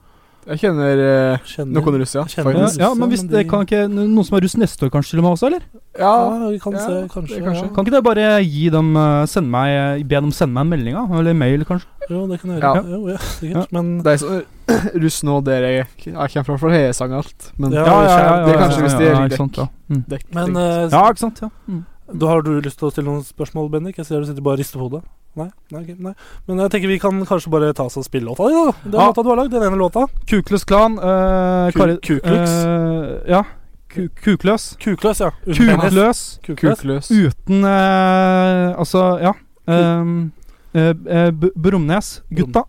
S4: Jeg kjenner eh,
S2: Kjenner
S4: noen russ, ja.
S2: Jeg kjenner
S5: Ja,
S4: Faktisk.
S2: russ.
S5: ja, men hvis
S2: men
S5: det
S2: de-
S5: kan ikke Noen som er russ neste år, kanskje, til og med også, eller?
S4: Ja.
S2: Ja, vi kan
S4: Ja,
S2: se,
S4: det
S2: kanskje.
S4: er kanskje.
S2: Ja.
S5: Kan ikke dere bare gi dem eh, sende meg, eh, be dem sende meg en melding, da? Eller mail, kanskje?
S2: Jo, det kan jeg
S4: Ja.
S2: gjøre. Jo, ja, sikkert. Men
S4: Det er sånn russ nå, dere Jeg kommer fra for Hesang og alt, men
S2: Ja, ja,
S4: Det er
S2: ja,
S4: kanskje
S2: ja,
S4: hvis de
S5: ja,
S4: ligger
S5: ikke sant,
S4: dekk.
S5: ja. Mm.
S4: Dekk,
S2: Men
S4: dekk.
S2: eh,
S5: ja, ikke sant? Ja. Mm.
S2: da har du lyst til å stille noen spørsmål, Bendik? Jeg ser du sitter bare og rister på hodet. Nei, nei, ok, nei. Men jeg tenker vi kan kanskje bare ta oss og spille låta di, da. Den
S5: Ja.
S2: låta du har lagd. Den ene låta.
S5: Kukløs klan. eh,
S2: Ku-
S5: Kari-
S2: Kuklux?
S5: eh, ja. Ku- Kukløs.
S2: Kukløs, ja. Undertegnet.
S5: Kukløs.
S2: Kukløs.
S4: Kukløs.
S5: Uten eh, Altså, ja. Um, eh, eh, B- Brumnes, gutta,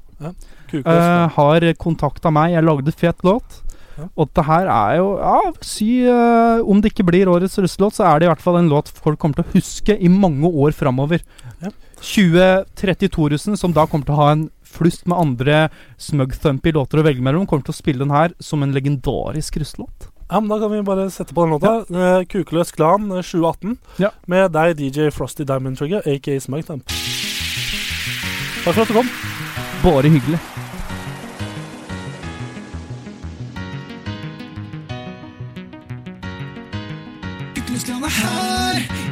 S2: Kukløs.
S5: eh, har kontakta meg. Jeg lagde fet låt.
S2: Ja.
S5: Og det her er jo ja, si, eh, Om det ikke blir årets russelåt, så er det i hvert fall en låt folk kommer til å huske i mange år framover.
S2: Ja.
S5: 2032-russen, som da kommer til å ha en flust med andre smugthumpy låter å velge mellom, kommer til å spille den her som en legendarisk russelåt.
S2: Ja, men Da kan vi bare sette på den låta. Eh, Kukløs Klan eh, 2018
S5: Ja.
S2: med deg, DJ Frosty Diamond Trigger, aka Smugthump. Takk for at du kom.
S5: Bare hyggelig.
S7: Kukleskran er her.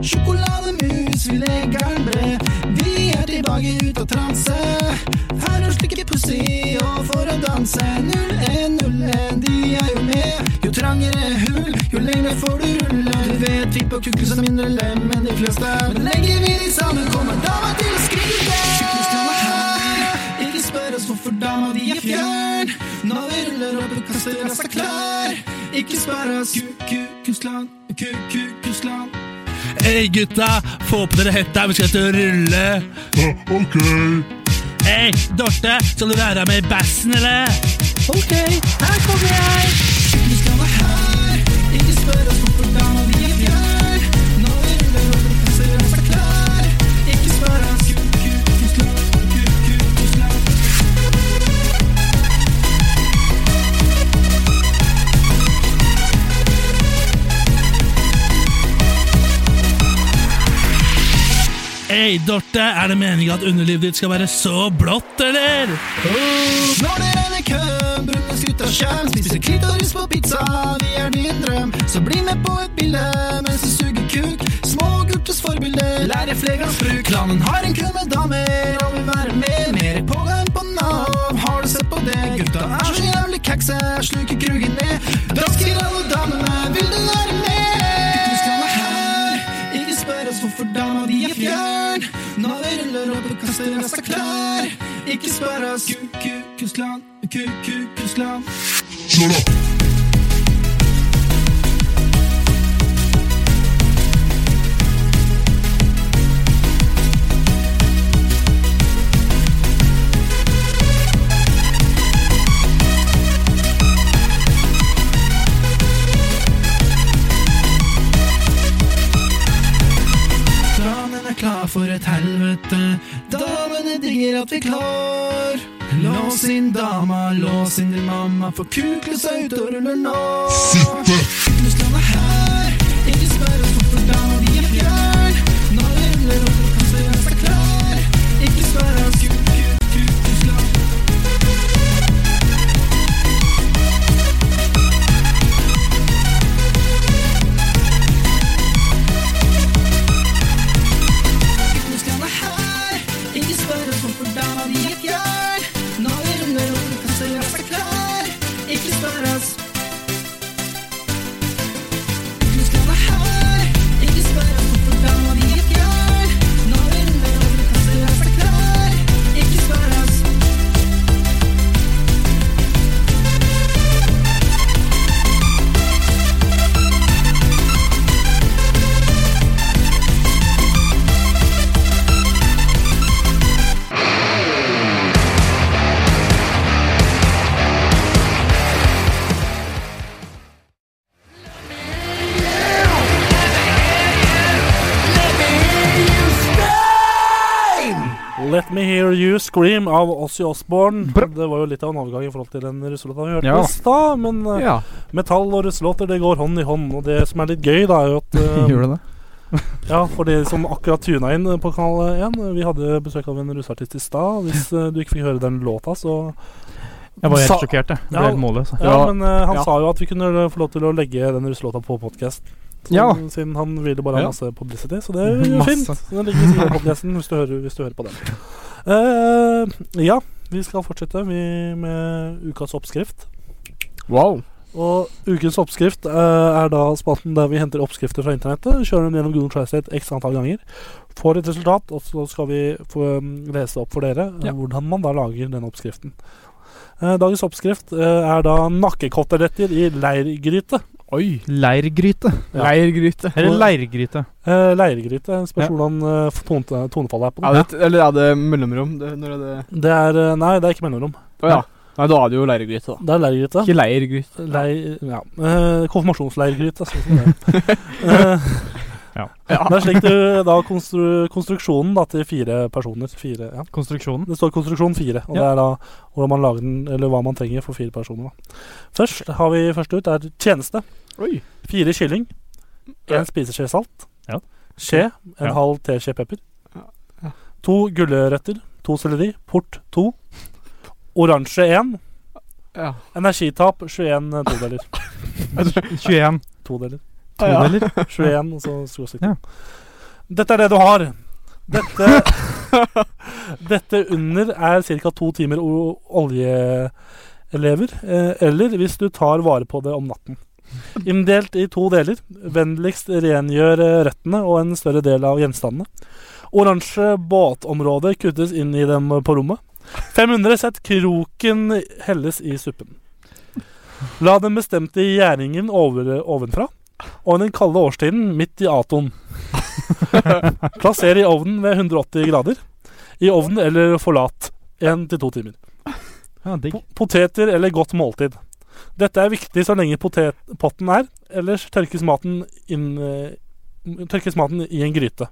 S7: Sjokolademus, vi legger den bred. Vi er tilbake ut av transe. Her er slike pussig og for å danse. 0101, de er jo med. Jo trangere hull, jo lengre får du rulle. Du vet vi på kukken som mindre lem enn de fleste. Men legger vi de sammen, kommer dama til å skrike. Kukkenskrana her, ikke spør oss hvorfor dama de er fjern. Når vi ruller opp og kaster av seg klær. Ikke spør oss kukkukusklan, kukkukusklan. Hei gutta, få på dere hetta, vi skal til å rulle. ok. Hei, Dorte, skal du være med i bassen, eller? Ok, her kommer jeg. Vi skal være her, ikke spør oss hvorfor dama vi er fjern. Nå er det lov å passe seg klar. Ikke spør oss kukkukusklan, kukkukusklan. Hei, Dorte, er det meningen at underlivet ditt skal være så blått, eller? Når det renner køm, brune skutt av skjerm, spiser klitoris på pizza, vi er din drøm. Så bli med på et bilde mens du suger kuk. Små gurtes forbilde, lærer flergangs bruk. Klanen har en kø med damer og vil være med. Mer pågang enn på Nav, har du sett på det? Gutta er så jævlig kækse, sluker krugen ned. Rasker alle damene, vil du være med? Guttene er her, ikke spør oss hvorfor dama de er fjern. Når vi ruller opp og kaster av seg klær. Ikke spør oss kukkukusklan, kukkukusklan. Planen er klar for et helvete. Damene digger at vi klår. Lås inn dama, lås inn din mamma, for kuklus er ute og ruller nå. Sitte! Kuklusland er her, ikke spør oss hvorfor dama de er fjern. Nå ruller opp og kaster av seg klær. Ikke spør oss kuk, kuk, kuklusland.
S2: Let Me Hear You Scream av Ossie Osborne.
S5: Bra.
S2: Det var jo litt av en overgang i forhold til den russelåta vi hørte
S5: Ja.
S2: i stad, men eh,
S5: Ja,
S2: metall og russelåter det går hånd i hånd. Og det som er litt gøy, da, er jo at
S5: gjør
S2: eh,
S5: det det?
S2: Ja, for de som akkurat tuna inn på Kanal 1 Vi hadde besøk av en russeartist i stad. Hvis eh, du ikke fikk høre den låta, så
S5: Jeg var
S2: Sa-
S5: helt sjokkert, jeg. Ble
S2: Ja.
S5: helt målløs. altså. jeg.
S2: Ja,
S4: Ja.
S2: men eh, han
S4: Ja.
S2: sa jo at vi kunne eh, få lov til å legge den russelåta på podkast.
S5: Ja.
S2: Siden han ville bare
S5: Ja.
S2: ha masse publicity, så det er jo
S5: Masse.
S2: fint. Så Den ligger sikkert på podcasten hvis, du hører- hvis du hører på den. Eh, ja, vi skal fortsette vi, med ukas oppskrift.
S4: Wow.
S2: Og ukens oppskrift eh, er da spalten der vi henter oppskrifter fra internettet, kjører dem gjennom Google Translate x antall ganger, får et resultat, og så skal vi få mm, lese opp for dere eh,
S5: Ja.
S2: hvordan man da lager den oppskriften. Eh, dagens oppskrift eh, er da nakkekoteletter i leirgryte.
S4: Oi.
S5: Leirgryte.
S2: Ja.
S4: Leirgryte.
S5: Eller leirgryte.
S2: Eh, leirgryte, spørs hvordan eh, tone, tonefallet er på
S4: Er
S2: den.
S4: det, et- eller er det mellomrom? Det, når er det
S2: Det er eh, Nei, det er ikke mellomrom.
S4: Å ja. Nei, da er det jo leirgryte, da.
S2: Det er leirgryte.
S4: Ikke leirgryte.
S2: Leir, ja. Eh, konfirmasjonsleirgryte. Sånn som det. Eh,
S5: Ja.
S2: Det er slik du da konstru, konstruksjonen da, til fire personer. Fire, ja.
S5: Konstruksjonen.
S2: Det står konstruksjon fire, og det
S5: Ja.
S2: er da hvordan man lager den, eller hva man trenger for fire personer. Da. Først har vi først ut er tjeneste.
S4: Oi.
S2: Fire kylling,
S4: Ja.
S2: én spiseskje salt,
S5: Ja.
S2: skje, en
S5: Ja.
S2: halv teskje pepper,
S4: Ja. Ja.
S2: to gulrøtter, to selleri, port to, oransje én,
S4: Ja.
S2: energitap 21 todeler.
S5: 21.
S2: todeler.
S4: Ah, ja.
S5: Todeler.
S2: 21, og så skråstrek.
S5: Ja.
S2: Dette er det du har. Dette, dette under er ca. to timer o- oljelever, eh, eller hvis du tar vare på det om natten. Inndelt i to deler. Vennligst rengjør eh, røttene og en større del av gjenstandene. Oransje båtområde kuttes inn i dem på rommet. 500 sett kroken helles i suppen. La den bestemte gjæringen over, eh, ovenfra og den kalde årstiden midt i atom. Plasser i ovnen ved 180 grader. I ovnen eller forlat. Én til to timer.
S5: Ja, digg.
S2: Po- Poteter eller godt måltid. Dette er viktig så lenge potet potten er, ellers tørkes maten, inn, eh, tørkes maten i en gryte.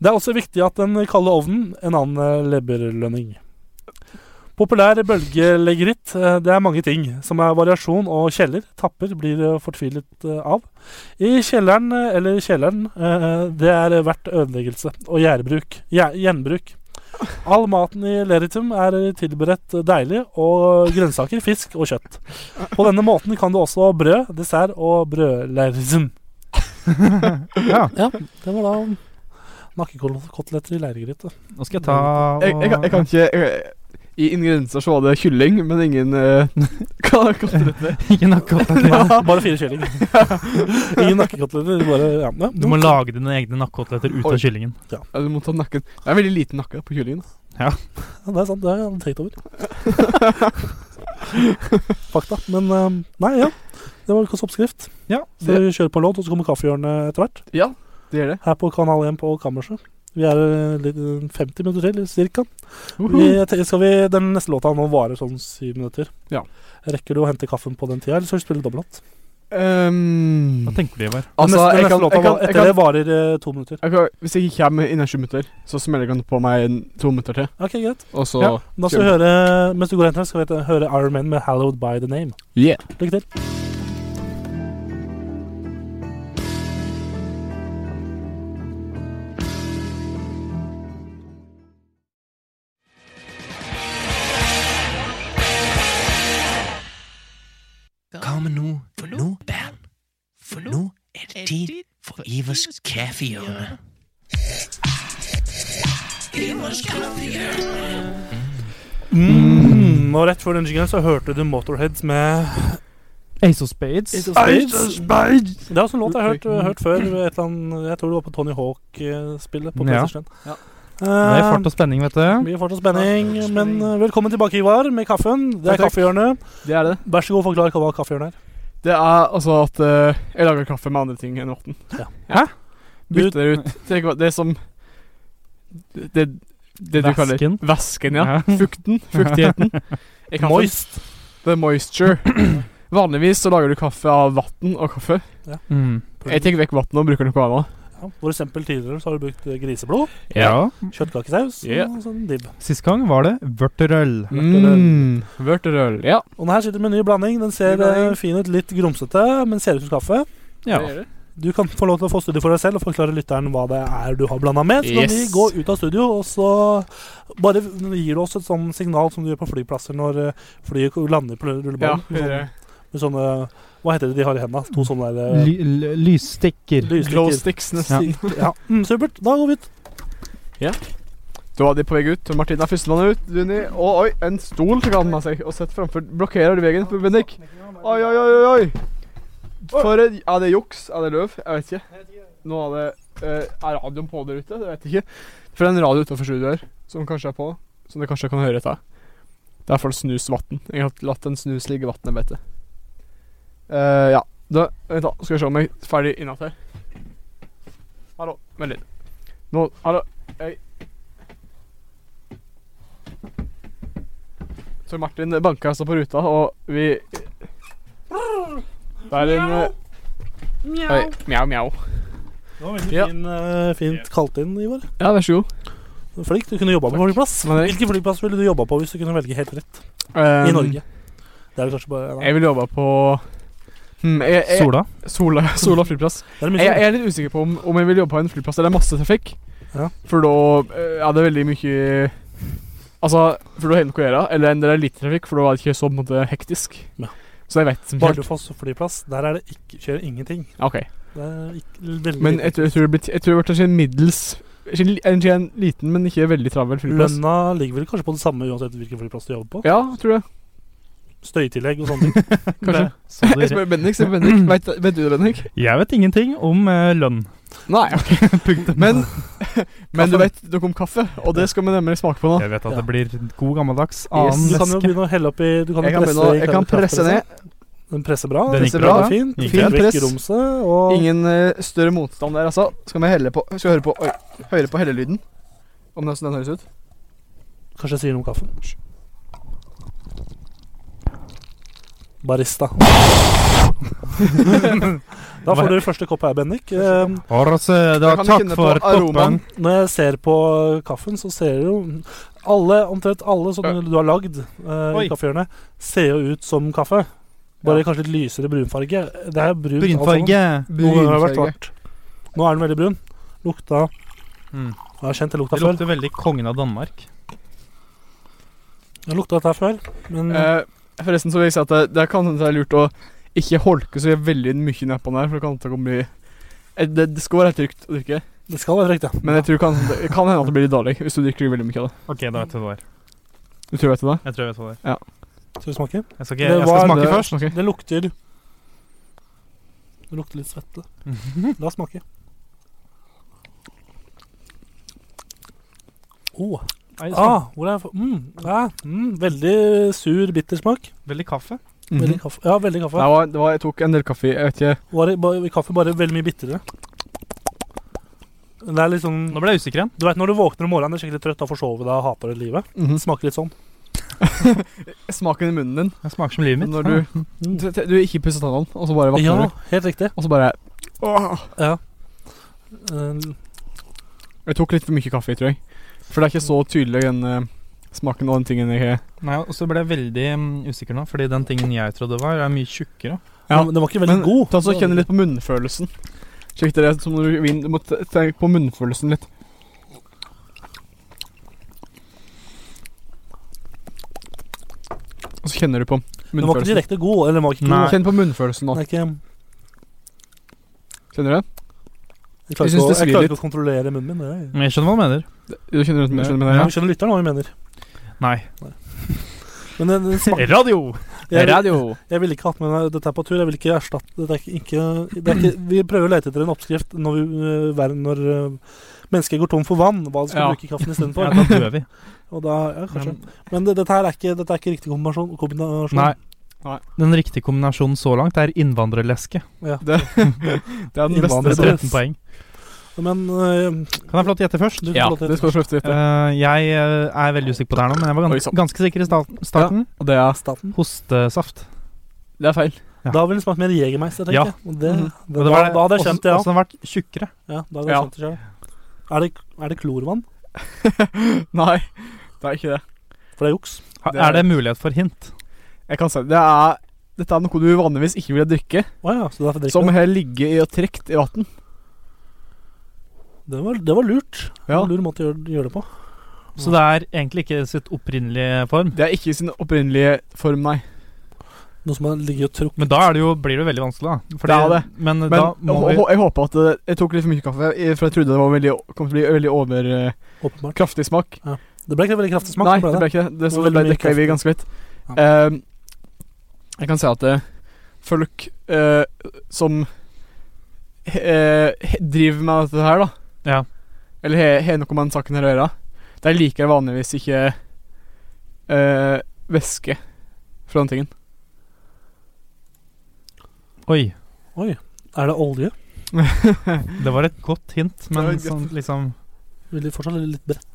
S2: Det er også viktig at den kalde ovnen en annen eh, leberlønning. Populær bølgelegritt, eh, det er mange ting, som er variasjon og kjeller. Tapper blir eh, fortvilet eh, av. I kjelleren, eh, eller kjelleren, eh, det er verdt ødeleggelse og gjærbruk. Gjær- Gjenbruk. All maten i Leritum er tilberedt deilig, og grønnsaker, fisk og kjøtt. På denne måten kan du også brød, dessert og brødleritum.
S5: Ja.
S2: Ja, det var da nakkekoteletter i leirgryte.
S5: Nå skal jeg ta
S4: Jeg, jeg, kan- jeg kan ikke jeg, I ingredienser så var det kylling, men ingen uh, Hva kalte det?
S5: Ikke nakkekoteletter.
S2: Bare fire kylling. Ingen nakkekoteletter, bare ja. ja.
S5: Du må lage dine egne nakkekoteletter ut
S4: Oi.
S5: av kyllingen.
S4: Ja, du må ta nakken. Det er veldig liten nakke på kyllingen.
S2: Ja,
S4: da.
S2: det er sant, det har jeg aldri tenkt over. Fakta. Men eh, nei, ja. Det var ukas oppskrift.
S5: Ja,
S2: Så vi kjører på en låt, og så kommer kaffehjørnet etter hvert.
S4: Ja, det gjør det.
S2: Her på Kanal 1 på Kammerset. Vi er eh, litt, eh, 50 minutter til, cirka. Vi,
S4: Uhu.
S2: jeg tenker- skal vi, den neste låta nå varer sånn syv minutter.
S4: Ja.
S2: Rekker du å hente kaffen på den tida, eller skal vi spille dobbeltlåt?
S4: Ehm,
S5: Hva tenker du, Ivar?
S4: altså,
S2: den neste, den
S4: jeg
S2: neste
S4: kan,
S2: låta
S4: jeg kan,
S2: var-
S4: jeg
S2: etter
S4: kan,
S2: det varer eh, to minutter.
S4: jeg kan Hvis jeg ikke kommer innen 20 minutter, så smeller jeg den på meg en- to minutter til.
S2: Ok, greit.
S4: Og så
S5: Ja.
S2: Da skal vi høre, mens du går og henter den, skal vi hete- høre Iron Man med 'Hallowed by the Name'.
S4: Yeah.
S2: Lykke til.
S8: Hva med nå? For nå, Bernt? For nå er det tid for Ivers kaffehjørne.
S2: Mm. Og rett før den jingeren så hørte du Motorheads med
S5: Ace of Spades.
S2: Det er også en låt jeg har hørt, hørt før. ved Et eller annet, jeg tror det var på Tony Hawk-spillet på
S5: Ja.
S2: PlayStation.
S4: Ja.
S5: Det er
S2: Eh,
S5: fart og spenning, vet du.
S2: mye fart og spenning, men eh, velkommen tilbake, Ivar, med kaffen. Det er
S4: Takk, takk.
S2: kaffehjørnet.
S4: Det er det.
S2: Vær så god, forklar hva kaffehjørnet er.
S4: Det er altså at eh, jeg lager kaffe med andre ting enn vann.
S2: Ja.
S4: Hæ?
S5: Du-
S4: Bytter det ut Tenk hva Det som Det, det du kaller
S5: Væsken.
S4: Væsken, ja.
S5: Ja.
S4: Fukten. Fuktigheten. i kaffen.
S2: Moist.
S4: The moisture. Vanligvis så lager du kaffe av vann og kaffe.
S5: Mm.
S4: Jeg tar vekk vannet og bruker noe annet.
S2: Ja. For eksempel tidligere så har du brukt eh, griseblod,
S5: Ja.
S4: Mm.
S2: kjøttkakesaus
S9: Ja.
S2: og sånn dibb.
S5: Sist gang var det vørterøl.
S4: Mm. Vørterøl. Ja.
S2: Og her sitter vi med en ny blanding. Den ser
S4: Ny blanding.
S2: eh, fin ut, litt grumsete, men ser ut som kaffe.
S5: Ja.
S4: Det gjør det.
S2: Du kan få lov til å få studio for deg selv og forklare lytteren hva det er du har blanda med. Så kan
S4: Yes.
S2: vi gå ut av studio, og så bare gir du oss et sånn signal som du gjør på flyplasser når eh, flyet lander på
S4: Ja,
S2: rullebanen.
S4: det gjør det.
S2: med sånne Hva heter det de har i hendene? To sånne der, eh,
S5: Ly l- lysstikker.
S2: lysstikker.
S4: Sånn. Glow sticks nesten.
S2: Ja. Mm, supert. Da går vi ut.
S4: Da var de på vei ut. Martin er førstemann ut. Juni. Å, oi, en stol tok han av seg og sett framfor. Blokkerer du veien for Bendik? Oi, oi, oi, oi, oi. For en Er det juks? Er det løv? Jeg vet ikke. Nå er det eh, Er radioen på der ute? Det vet jeg ikke. For det er en radio utenfor studioet her som kanskje er på, som dere kanskje kan høre etter. Det er for snusvann. Jeg har latt en snus ligge i vannet, vet du. Eh, ja. Da, vent, da. Skal vi se om jeg er ferdig innatt her. Hallo. Vent litt. Nå Hallo. Tor Martin banka altså på ruta, og vi Det er en eh, Oi. Mjau, mjau.
S2: Det var veldig
S4: Ja.
S2: fin, eh, fint kalt inn, Ivar.
S4: Ja, vær så god.
S2: Flink. Du kunne jobba på flyplass.
S4: Var det- Um,
S2: Hvilken flyplass ville du jobba på hvis du kunne velge helt rett? I Norge. Det er vel kanskje bare nei.
S4: Ehm, Jeg vil jobbe på hmm, jeg, jeg,
S5: Sola.
S4: Sola, Sola flyplass.
S2: Det er mye
S4: Jeg, jeg
S2: sånn.
S4: er litt usikker på om, om jeg vil jobbe på en flyplass der det er masse trafikk.
S2: Ja.
S4: For da eh, er det veldig mye Altså, for da har jeg noe å gjøre. Eller en del er lite trafikk, for da er det ikke så på en måte hektisk.
S2: Ja.
S4: Så jeg vet som helt
S2: Bardufoss flyplass, der er det ikke, skjer ingenting.
S4: OK.
S2: Det er ikke, veldig
S4: Men jeg tror, jeg tror det blir Jeg tror det blir en middels En en liten, men ikke veldig travel flyplass.
S2: Lønna ligger vel kanskje på det samme uansett hvilken flyplass du jobber på?
S4: Ja, tror jeg.
S2: Støytillegg og sånne ting.
S4: Kanskje.
S5: Så
S4: Jeg
S5: dere-
S4: spør Bendik. Spør Bendik. Vet, vet du det, Bendik?
S5: Jeg vet ingenting om eh, lønn.
S4: Nei, ok. Men, men du vet nok om kaffe, og det skal vi nemlig smake på nå.
S5: Jeg vet at
S2: Ja.
S5: det blir god gammeldags
S2: Yes,
S5: annen
S2: du kan jo
S5: væske.
S2: begynne å helle oppi Du kan, jo
S4: Jeg kan,
S2: presse,
S4: begynne, å-
S2: i
S4: jeg kan presse
S2: kraftpressa.
S4: ned.
S2: Den presser bra.
S5: Den
S4: gikk
S2: presser
S4: bra, da.
S2: Fint.
S5: Gikk
S2: Fint
S4: bra.
S2: vekk romset. Og
S4: Ingen eh, større motstand der, altså. Skal vi helle på Skal vi høre på, oi, høre på hellelyden? Om det er sånn den høres ut?
S2: kanskje jeg sier noe om kaffen. Barista. da får du første kopp her, Bendik. Eh,
S5: Altså, da,
S4: Jeg kan
S5: takk
S4: kjenne på
S5: for
S4: aromaen.
S5: toppen.
S2: Når jeg ser på kaffen, så ser jo alle, omtrent alle sånne du har lagd eh, i
S5: Oi.
S2: kaffehjørnet, ser jo ut som kaffe. Bare kanskje litt lysere brunfarge. Det er brunt. alt sammen.
S5: Brynfarge.
S2: Noen ganger har det vært svart. Nå er den veldig brun. Lukta
S5: Mm.
S2: Jeg har kjent jeg lukta
S5: Det
S2: før.
S5: lukter veldig kongen av Danmark.
S2: Jeg lukta dette her før, men
S4: Eh, forresten så vil jeg si at det, det kan hende det er lurt å ikke holke så veldig mye nedpå den her, for det kan hende det kan bli eh, det, det skal være trygt å drikke,
S2: det skal være trygt, ja.
S4: men jeg tror det kan, det kan hende at det blir litt dårlig hvis du drikker veldig mye av det.
S5: Ok, da vet jeg hva det er.
S4: Du tror jeg vet det?
S5: Jeg tror jeg vet hva det er.
S2: Skal vi smake?
S5: Jeg skal,
S2: Det
S5: ikke,
S2: var
S5: jeg skal smake
S4: det-
S5: først.
S4: ok.
S2: Det lukter Det lukter litt svette. La oss smake. Oh.
S5: Nei, smak-
S2: Ah, hvor er jeg for- mm, ja, mm, veldig sur bittersmak.
S5: Veldig kaffe.
S4: Mhm.
S2: Veldig kaffe. Ja, veldig
S4: det
S2: kaffe.
S4: var, det var, jeg tok en del kaffe. Jeg vet ikke
S2: Bare, bare, kaffe bare veldig mye bittere. Det er litt sånn
S5: Nå ble jeg usikker igjen.
S2: Du vet når du våkner om morgenen, er du skikkelig trøtt og forsovet deg og hater livet.
S4: Mhm.
S2: Det smaker litt sånn.
S4: Smaken i munnen din
S5: Det smaker som livet mitt.
S4: når du, du, du ikke pusser tannene, og så bare våkner
S2: Ja,
S4: du.
S2: helt riktig.
S4: Og så bare åh.
S2: Eh,
S4: Jeg tok litt for mye kaffe, tror jeg. For det er ikke så tydelig den eh, smaken og den tingen jeg har.
S5: Nei, og så ble jeg veldig mm, usikker nå, fordi den tingen jeg trodde var, er mye tjukkere.
S4: Ja,
S2: men Den var ikke veldig god.
S4: Ta så Kjenn litt på munnfølelsen. Sjekk det som når du vin- Du må te- tenke på munnfølelsen litt. Og så kjenner du på
S2: Den var ikke
S4: munnfølelsen.
S2: direkte god. Eller den var ikke god.
S4: Kjenn på munnfølelsen nå.
S2: Den er ikke,
S4: Kjenner du det?
S2: jeg klarer
S4: Jeg
S2: ikke,
S4: synes
S2: å-
S4: det
S2: jeg
S4: svir
S2: klarer
S4: litt.
S2: ikke å kontrollere munnen min. Jeg,
S5: Men jeg skjønner hva du mener.
S4: Du kjenner det? Skjønner du hva jeg mener,
S2: jeg skjønner lytteren hva vi mener.
S5: Nei.
S2: Men den, den smaker
S5: Radio!
S4: ja?
S2: jeg,
S4: Radio.
S2: jeg ville ikke hatt med meg dette her på tur. Jeg vil ikke erstatte det er ikke, ikke, det er ikke, Vi prøver å lete etter en oppskrift når, vi, øh, hver- når øh, mennesker går tom for vann. Hva de skal
S4: Ja.
S2: bruke kaffen
S5: Ja,
S2: istedenfor.
S5: da dør vi.
S2: Og da, ja, kanskje. Men det, dette her er ikke, dette er ikke riktig kombinasjon. kombinasjon.
S5: Nei.
S4: Nei.
S5: Den riktige kombinasjonen så langt er innvandrerleske.
S4: Det, det er den beste.
S5: Med 13 poeng.
S2: Men øh,
S5: Kan jeg få lov til å gjette først?
S2: du kan
S4: Ja,
S2: få lov til
S4: det skal du slutte etter.
S5: Eh, jeg eh, er veldig usikker på det her nå, men jeg var
S4: Oi, sånn.
S5: gans
S4: sant.
S5: ganske sikker i starten. starten.
S4: Og det er,
S2: staten.
S5: Hostesaft.
S4: det er feil.
S5: Ja.
S2: Da ville det smakt mer Jegermeister, tenker
S5: Ja.
S2: jeg. Og det,
S5: Mhm.
S2: det, da, da hadde jeg kjent det, ja.
S5: Åssen den vært tjukkere.
S2: ja da hadde jeg
S4: Ja.
S2: skjønt det selv. Er det, er det klorvann?
S4: Nei, det er ikke det.
S2: For det er juks.
S5: Ha-
S4: Det-
S5: Er det mulighet for hint?
S4: Jeg kan si det. det er, dette er noe du vanligvis ikke ville drikke.
S2: Å ja, så derfor drikker
S4: Som
S2: jeg
S4: har ligget i og trukket i
S2: det.
S4: vann.
S2: Det var, det var lurt. Det
S4: Ja.
S2: var en lur måte å gjøre, gjøre det på.
S5: Så det er egentlig ikke sitt opprinnelige form.
S4: Det er ikke i sin opprinnelige form, nei.
S2: Noe som har ligget og trukket
S5: Men da er det jo, blir det jo veldig vanskelig, da. Fordi,
S4: Det er
S5: Men,
S4: Men
S5: da
S4: jeg,
S5: må vi
S4: hå- jeg håper at eh, Jeg tok litt for mye kaffe, eh, for jeg trodde det var veldig, kom til å bli veldig over eh,
S2: åpenbart.
S4: kraftig smak.
S2: Det ble ikke veldig kraftig smak.
S4: nei,
S2: ble
S4: det ble ikke det. det
S2: Det
S4: så
S2: var
S4: det ble
S2: veldig mye
S4: dekka
S2: kraft.
S4: i ganske vidt.
S2: Ja.
S4: Ehm, jeg kan si at eh, folk eh, som eh, he- driver med dette her, da
S5: Ja.
S4: Eller har- har noe med den saken her å gjøre, de liker vanligvis ikke eh, væske fra den tingen.
S5: Oi.
S2: Er det olje?
S5: Det var et godt hint,
S4: var
S5: men
S4: et
S5: sånn liksom
S2: Vil de fortsatt være litt bredt?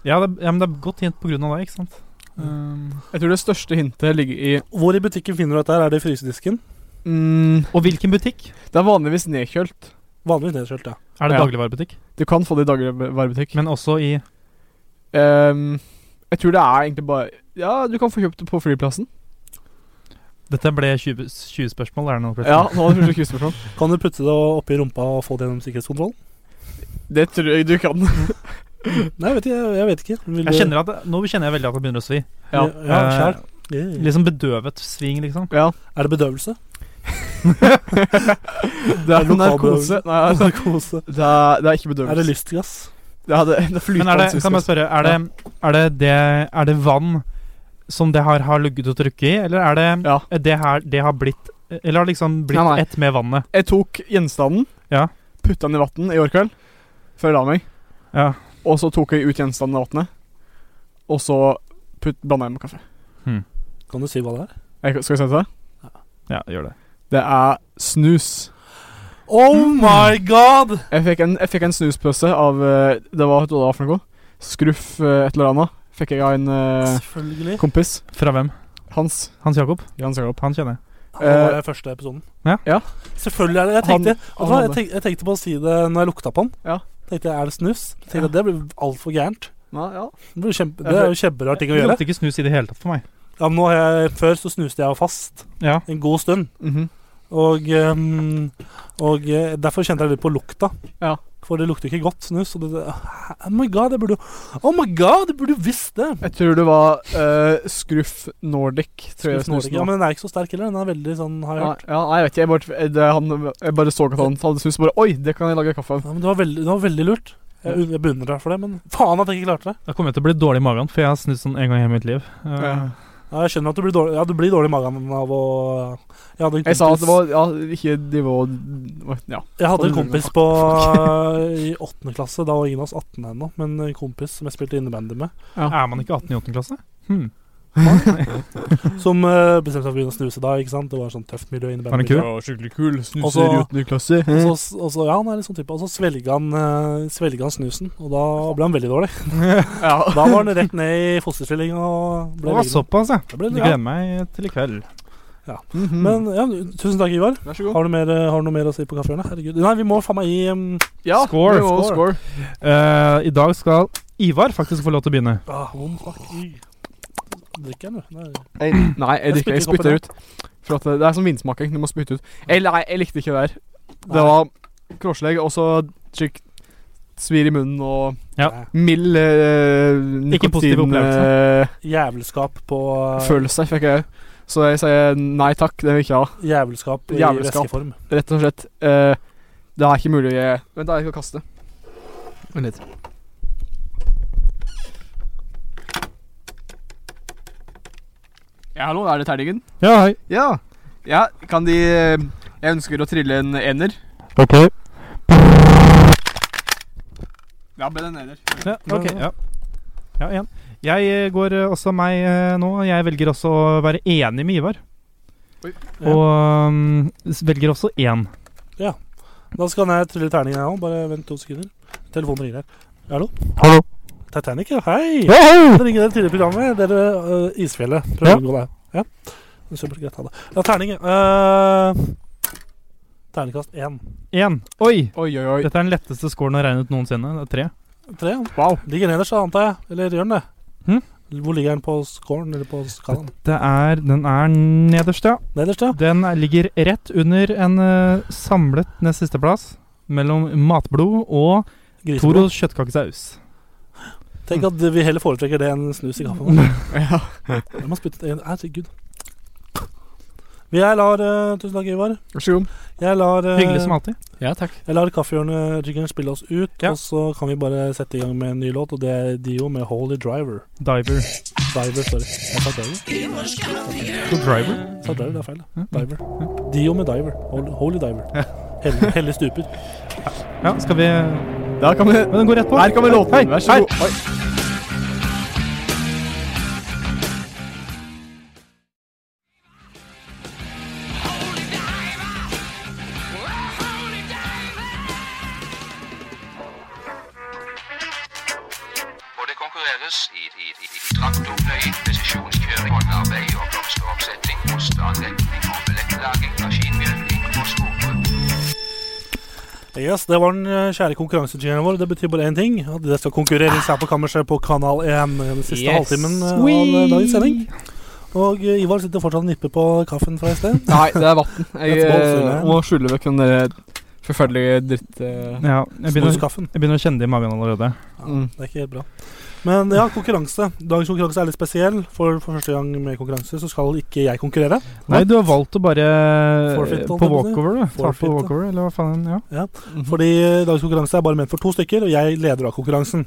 S5: ja, det, ja, men det er et godt hint på grunn av det, ikke sant? Eh,
S4: Jeg tror det største hintet ligger i
S2: Hvor i butikken finner du dette? her? Er det i frysedisken?
S4: mm,
S5: Og hvilken butikk?
S4: Det er vanligvis nedkjølt.
S2: Vanligvis nedkjølt, ja.
S5: Er det
S4: Ja.
S5: dagligvarebutikk?
S4: Du kan få det i dagligvarebutikk.
S5: Men også i
S4: Ehm, jeg tror det er egentlig bare Ja, du kan få kjøpt det på flyplassen.
S5: Dette ble 20, 20 spørsmål, er det nå?
S4: Ja,
S5: plutselig?
S4: nå hadde jeg første spørsmål.
S2: Kan du putte det oppi rumpa og få det gjennom sikkerhetskontrollen?
S4: Det tror jeg du kan.
S2: Nei, jeg vet ikke. Jeg, jeg vet ikke. Vil du-
S5: Jeg kjenner at det, nå kjenner jeg veldig at det begynner å svi.
S2: Ja,
S4: Ja.
S2: ja
S5: Eh,
S2: kjær.
S4: Mm.
S2: Yeah.
S5: Liksom bedøvet sving, liksom.
S4: ja.
S2: Er det bedøvelse?
S4: Det er narkose.
S2: lokalbedøvelse.
S4: Nei, altså,
S2: Narkose?
S4: det er, det er ikke
S2: Er det
S4: bedøvelse.
S2: lystgass?
S4: Det er, det,
S5: Men er det, kan
S4: det er
S5: jeg
S4: flytende
S5: spørre, er det, er det, det, er det vann som det har, har ligget og trykket i, eller er det
S4: Ja.
S5: det her det har blitt Eller har liksom blitt
S4: Nei, nei.
S5: ett med vannet?
S4: Jeg tok gjenstanden,
S5: Ja.
S4: putta den i vann i går kveld før jeg la meg,
S5: Ja.
S4: og så tok jeg ut gjenstanden i vannet, og så putt, blanda jeg med kaffe.
S2: Kan du si hva det er?
S4: Jeg, skal jeg si det? til deg?
S5: ja, gjør det.
S4: Det er snus.
S2: Oh my god!
S4: Jeg fikk en, jeg fikk en snuspøse av eh, Det var hva var det for noe? Skruff eh, et eller annet. Fikk jeg av en eh,
S2: Selvfølgelig.
S4: kompis.
S5: Fra hvem?
S4: Hans.
S5: Hans Jakob?
S4: Jans Jakob.
S5: Han kjenner jeg.
S2: Det var den første episoden.
S5: Ja.
S4: Eh, Ja.
S2: Selvfølgelig er det Jeg
S4: Han-
S2: tenkte, vet du hva,
S4: han
S2: jeg tenkte, jeg tenkte på å si det når jeg lukta på den.
S4: Ja.
S2: Tenkte jeg, Er det snus? Tenkte jeg, Det blir altfor gærent.
S4: Nei, ja.
S2: Det, blir kjempe, det er jo kjemperar ting å
S5: Det
S2: gjøre.
S5: lukter ikke snus i det hele tatt for meg.
S2: Ja, men nå har jeg, Før så snuste jeg jo fast
S5: Ja.
S2: en god stund.
S4: Mhm.
S2: Og, ehm, og eh, derfor kjente jeg litt på lukta.
S4: Ja.
S2: For det lukter ikke godt snus. Og det, det, oh my god, jeg burde jo Oh my god, jeg burde jo visst det!
S4: Jeg tror det var eh, Skruff Nordic. Tror jeg
S2: Snus Nordic.
S4: snusen
S2: Ja,
S4: var.
S2: men den er ikke så sterk heller. Den er veldig sånn, har jeg
S4: Ja,
S2: hørt.
S4: ja, nei, jeg vet ikke. Jeg bare, det, han, jeg bare så at han hadde snus. og Bare Oi, det kan jeg lage kaffe av.
S2: Ja, men det var veldig, det var veldig lurt. Jeg, jeg beundrer deg for det, men faen at jeg ikke klarte det.
S5: Da kommer jeg til å bli dårlig i magen, for jeg har snust sånn en gang i hele mitt liv. Eh,
S4: Ja.
S2: Ja, jeg skjønner at du blir dårlig, ja, du blir dårlig i magen av å Jeg hadde en
S4: Jeg
S2: kompis,
S4: sa at det var ja, ikke det var Ja.
S2: jeg hadde en
S4: Hold
S2: kompis på, eh, i åttende klasse. Da var ingen av oss 18 ennå, men en kompis som jeg spilte innebandy med,
S5: Er man ikke 18 i 8. klasse? Hmm.
S2: som eh, bestemte seg for å begynne å snuse da. ikke sant? Det var sånn tøft miljø i innebandy.
S5: Var han kul?
S4: Det var skikkelig kul. Snuser
S2: Og så-
S4: i åttende klasse.
S2: Og så, og så, ja, han er litt sånn type. Og så svelga han, eh, svelget han snusen, og da ble han veldig dårlig.
S4: Ja.
S2: Da var han rett ned i fosterstilling og
S5: Det
S2: ble
S5: var
S2: liggende.
S5: såpass, ja.
S2: Det ble-
S5: Jeg
S2: ja.
S5: gleder meg til i kveld.
S4: Mhm.
S2: Men ja, tusen takk, Ivar.
S4: Vær så god.
S2: Har du, mer, eh, har du noe mer å si på kaffehjørnet? Herregud. Nei, vi må faen meg gi um,
S4: Ja,
S5: Score,
S4: det var
S5: score.
S4: score.
S5: Eh, I dag skal Ivar faktisk få lov til å begynne.
S2: ah, oh, fuck. i. Drikker jeg nå? Nei.
S4: Jeg, nei, jeg drikker Jeg spytter ut. For at det det er som vinsmaking. Du må spytte ut. Jeg, nei, jeg likte ikke det der. Det var krorslegg og så skikkelig svir i munnen og
S5: Ja.
S2: Nei.
S4: mild eh,
S5: Ikke positiv
S4: nikotin,
S5: opplevelse.
S4: eh,
S2: Jævelskap på eh,
S4: Følelse fikk jeg òg. Så jeg sier nei takk, det vil jeg ikke ha.
S2: Jævelskap i
S4: Jævelskap.
S2: væskeform.
S4: Rett og slett. eh, det er ikke mulig å gi Vent, da, jeg skal kaste. Vent litt. Ja, hallo, er det Terningen?
S5: Ja, hei.
S4: Ja. ja. Kan de eh, Jeg ønsker å trille en ener.
S3: Ok.
S4: Ja, ble det en ener.
S5: Ja, ok, ja. Ja, igjen. Jeg eh, går eh, også meg eh, nå. Jeg velger også å være enig med Ivar.
S4: Oi.
S5: Og mm, s- velger også én.
S2: Da skal jeg trille terning, jeg òg. Bare vent to sekunder. Telefonen ringer her. Hallo?
S3: Hallo.
S2: Titanic, ja. Hei!
S3: Hei!
S2: Det ringer det tidligere programmet. Dere uh, eh, Isfjellet. Prøv
S3: Ja.
S2: å unngå det. Ja. Supert, greit, ha det. Ja, terning. eh, terningkast én.
S5: Én. Oi!
S4: Oi, oi, oi.
S5: Dette er den letteste scoren å regne ut noensinne. Det er tre.
S2: Tre.
S4: Wow.
S2: Ligger nederst, da, antar jeg. Eller gjør den det?
S5: Hm?
S2: Hvor ligger den på scoren, eller på skalaen?
S5: Det er, den er nederst, ja.
S2: Nederst, ja.
S5: Den er- ligger rett under en eh, samlet nest siste plass mellom Matblod og
S2: Griseblod.
S5: Toros kjøttkakesaus. Mm.
S2: Tenk at vi heller foretrekker det enn snus i kaffen.
S4: Ja.
S2: Jeg må spytte det inn. Herregud. Jeg lar eh, Tusen takk, Ivar.
S4: Vær så god.
S2: Jeg lar, eh,
S5: Hyggelig som alltid.
S9: Ja, takk.
S2: jeg lar kaffehjørnet-jiggeren spille oss ut,
S5: Ja.
S2: og så kan vi bare sette i gang med en ny låt, og det er Dio med 'Holy Driver'.
S5: Diver.
S2: Diver, sorry. Jeg sa Diver.
S5: Driver?
S2: Jeg sa Diver, det er feil. da. Diver. Dio med Diver. Holy, holy Diver. Hellig, hellig stuper.
S5: Ja, skal vi
S4: Der kan vi
S5: Men den går rett på.
S4: Her kan vi låten.
S5: Hei,
S4: Vær så
S5: hei.
S4: god. Oi.
S6: hvor det konkurreres i, i, i, i traktorpløying, presisjonskjøring, håndarbeid og blomsteroppsetting, osteanlegning og billettlaging, maskinmjølking og skogbruk.
S2: Yes, Det var den eh, kjære konkurransejingeren vår. Det betyr bare én ting. At det skal konkurreres her på kammerset på Kanal 1 den siste
S9: Yes.
S2: halvtimen eh, av eh, dagens sending. Og eh, Ivar sitter fortsatt og nipper på kaffen fra i sted.
S4: Nei, det er vann. Jeg
S2: That's balls,
S4: eh,
S2: eller?
S4: må skjule vekk den der forferdelige dritt... eh,
S5: Ja, jeg begynner,
S2: Snuskaffen.
S5: jeg begynner å kjenne det i magen allerede.
S2: Ja,
S4: Mm.
S2: det er ikke helt bra. Men ja, konkurranse. Dagens konkurranse er litt spesiell. For, for første gang med konkurranse så skal ikke jeg konkurrere.
S5: Nei, du har valgt å bare
S2: Forfeit, holdt jeg på
S5: På
S2: å si.
S5: walkover, du. Ta
S2: Forfeit,
S5: på
S2: ja.
S5: walkover, eller hva faen. Ja.
S2: Fordi eh, dagens konkurranse er bare ment for to stykker, og jeg leder av konkurransen.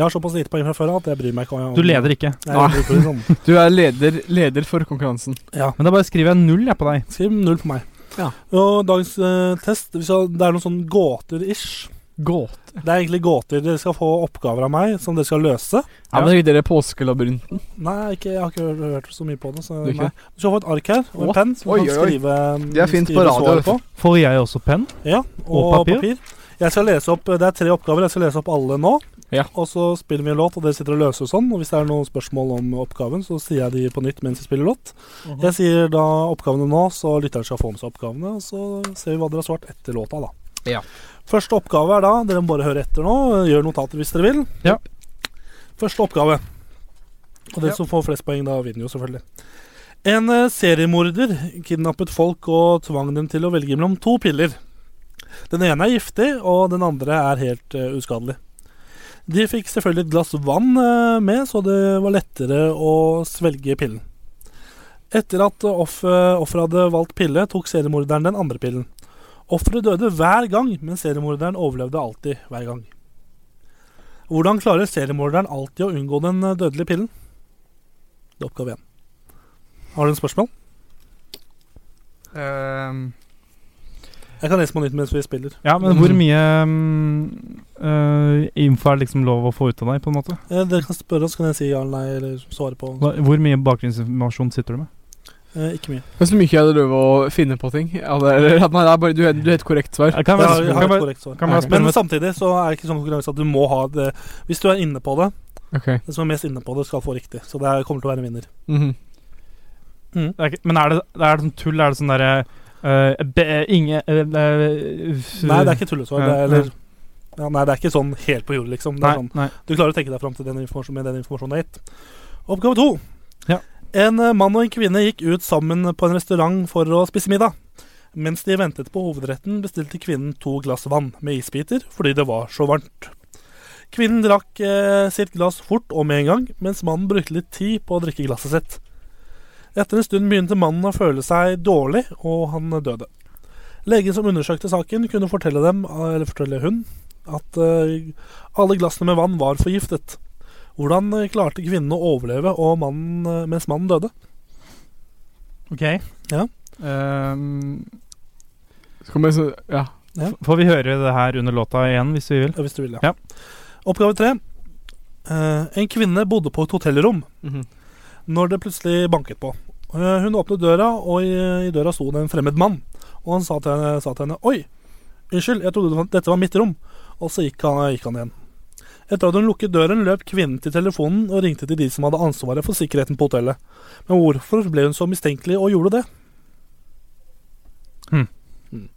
S2: Jeg har såpass lite poeng fra før av at jeg bryr meg ikke om
S5: Du leder ikke.
S2: Nei, jeg bruker det sånn.
S4: Du er leder, leder for konkurransen.
S2: Ja.
S5: Men da bare skriver jeg null jeg på deg.
S2: Skriv null på meg.
S4: Ja.
S2: Og dagens eh, test vi skal- Det er noen sånn gåter-ish.
S4: Gåte.
S2: Det er egentlig gåter. Dere skal få oppgaver av meg som dere skal løse.
S4: Ja, men dere påskelabyrinten.
S2: Nei, ikke, jeg har ikke hørt, hørt så mye på det. Så
S4: Du ikke?
S2: nei. Du skal få et ark her og en
S4: What?
S2: penn som du
S4: Oi,
S2: kan
S4: oi, oi.
S2: skrive
S4: Det er fint på
S2: skrive
S4: radio,
S2: svaret
S4: vet du.
S2: på.
S5: Får jeg også penn?
S2: Ja, og,
S5: Og papir.
S2: papir. Jeg skal lese opp, Det er tre oppgaver. Jeg skal lese opp alle nå.
S4: Ja.
S2: Og så spiller vi en låt, og dere sitter og løser sånn. Og hvis det er noen spørsmål om oppgaven, så sier jeg de på nytt mens vi spiller låt. Jeg sier da oppgavene nå, så lytteren skal få med seg oppgavene. Og så ser vi hva dere har svart etter låta, da.
S4: Ja.
S2: Første oppgave er da Dere må bare høre etter nå. Gjør notater hvis dere vil.
S5: Ja.
S2: Første oppgave. Og den som får flest poeng, da vinner jo selvfølgelig. En eh, seriemorder kidnappet folk og tvang dem til å velge mellom to piller. Den ene er giftig, og den andre er helt eh, uskadelig. De fikk selvfølgelig et glass vann eh, med, så det var lettere å svelge pillen. Etter at off- eh, offeret hadde valgt pille, tok seriemorderen den andre pillen. Offeret døde hver gang, men seriemorderen overlevde alltid hver gang. Hvordan klarer seriemorderen alltid å unngå den eh, dødelige pillen? Det er oppgave én. Har du en spørsmål? Ehm, Jeg kan lese på nytt mens vi spiller.
S5: ja, men hvor mye mm, øh, info er liksom lov å få ut av deg, på en måte?
S2: Eh, Dere kan spørre, så kan jeg si ja eller nei, eller svare på.
S5: Hva- Hvor mye bakgrunnsinformasjon sitter du med?
S2: Eh, ikke mye.
S4: Hvis mye jeg hadde lov å finne på ting. Ja, det er, nei, det er bare, du, er- du er et korrekt svar.
S5: Jeg kan
S2: Jeg
S5: bare,
S2: har, jeg
S5: kan
S2: har et
S5: bare,
S2: korrekt svar.
S5: kan bare
S4: Ok.
S5: spørre om
S2: Men
S5: et
S2: samtidig så er det ikke sånn konkurranse at du må ha det Hvis du er inne på det,
S4: Ok.
S2: den som er mest inne på det, skal få riktig. Så det er- kommer til å være en vinner.
S4: Mhm.
S5: det er ikke, Men er det, er det sånn tull? Er det sånn derre øh, be- Ingen
S2: Nei,
S5: eh, Nei,
S2: det er ikke tullesvar. Det
S5: Ja,
S2: er,
S5: ja.
S2: eller ja, Nei, det er ikke sånn helt på jordet, liksom. Det
S5: Nei,
S2: er sånn,
S5: nei.
S2: du klarer å tenke deg fram til den informasjonen med den informasjonen jeg har gitt. Oppgave to.
S5: Ja.
S2: En eh, mann og en kvinne gikk ut sammen på en restaurant for å spise middag. Mens de ventet på hovedretten, bestilte kvinnen to glass vann med isbiter fordi det var så varmt. Kvinnen drakk eh, sitt glass fort og med en gang, mens mannen brukte litt tid på å drikke glasset sitt. Etter en stund begynte mannen å føle seg dårlig, og han døde. Legen som undersøkte saken, kunne fortelle dem, eller fortelle hun, at eh, alle glassene med vann var forgiftet. Hvordan eh, klarte kvinnen å overleve og mannen, eh, mens mannen døde?
S5: Ok.
S2: Ja.
S5: Ehm,
S4: Så kommer jeg så, ja.
S5: f- får vi høre det her under låta igjen, hvis vi vil?
S2: Ja, Hvis du vil, ja.
S5: Ja.
S2: Oppgave tre. Eh, en kvinne bodde på et hotellrom
S4: Mhm.
S2: når det plutselig banket på. Eh, hun åpnet døra, og i, i døra sto det en fremmed mann. Og han sa til henne, sa til henne Oi, unnskyld, jeg trodde det var- dette var mitt rom. Og så gikk han, gikk han igjen. Etter at hun lukket døren, løp kvinnen til telefonen og ringte til de som hadde ansvaret for sikkerheten på hotellet. Men hvorfor ble hun så mistenkelig og gjorde det?
S5: Hmm.
S2: Hmm.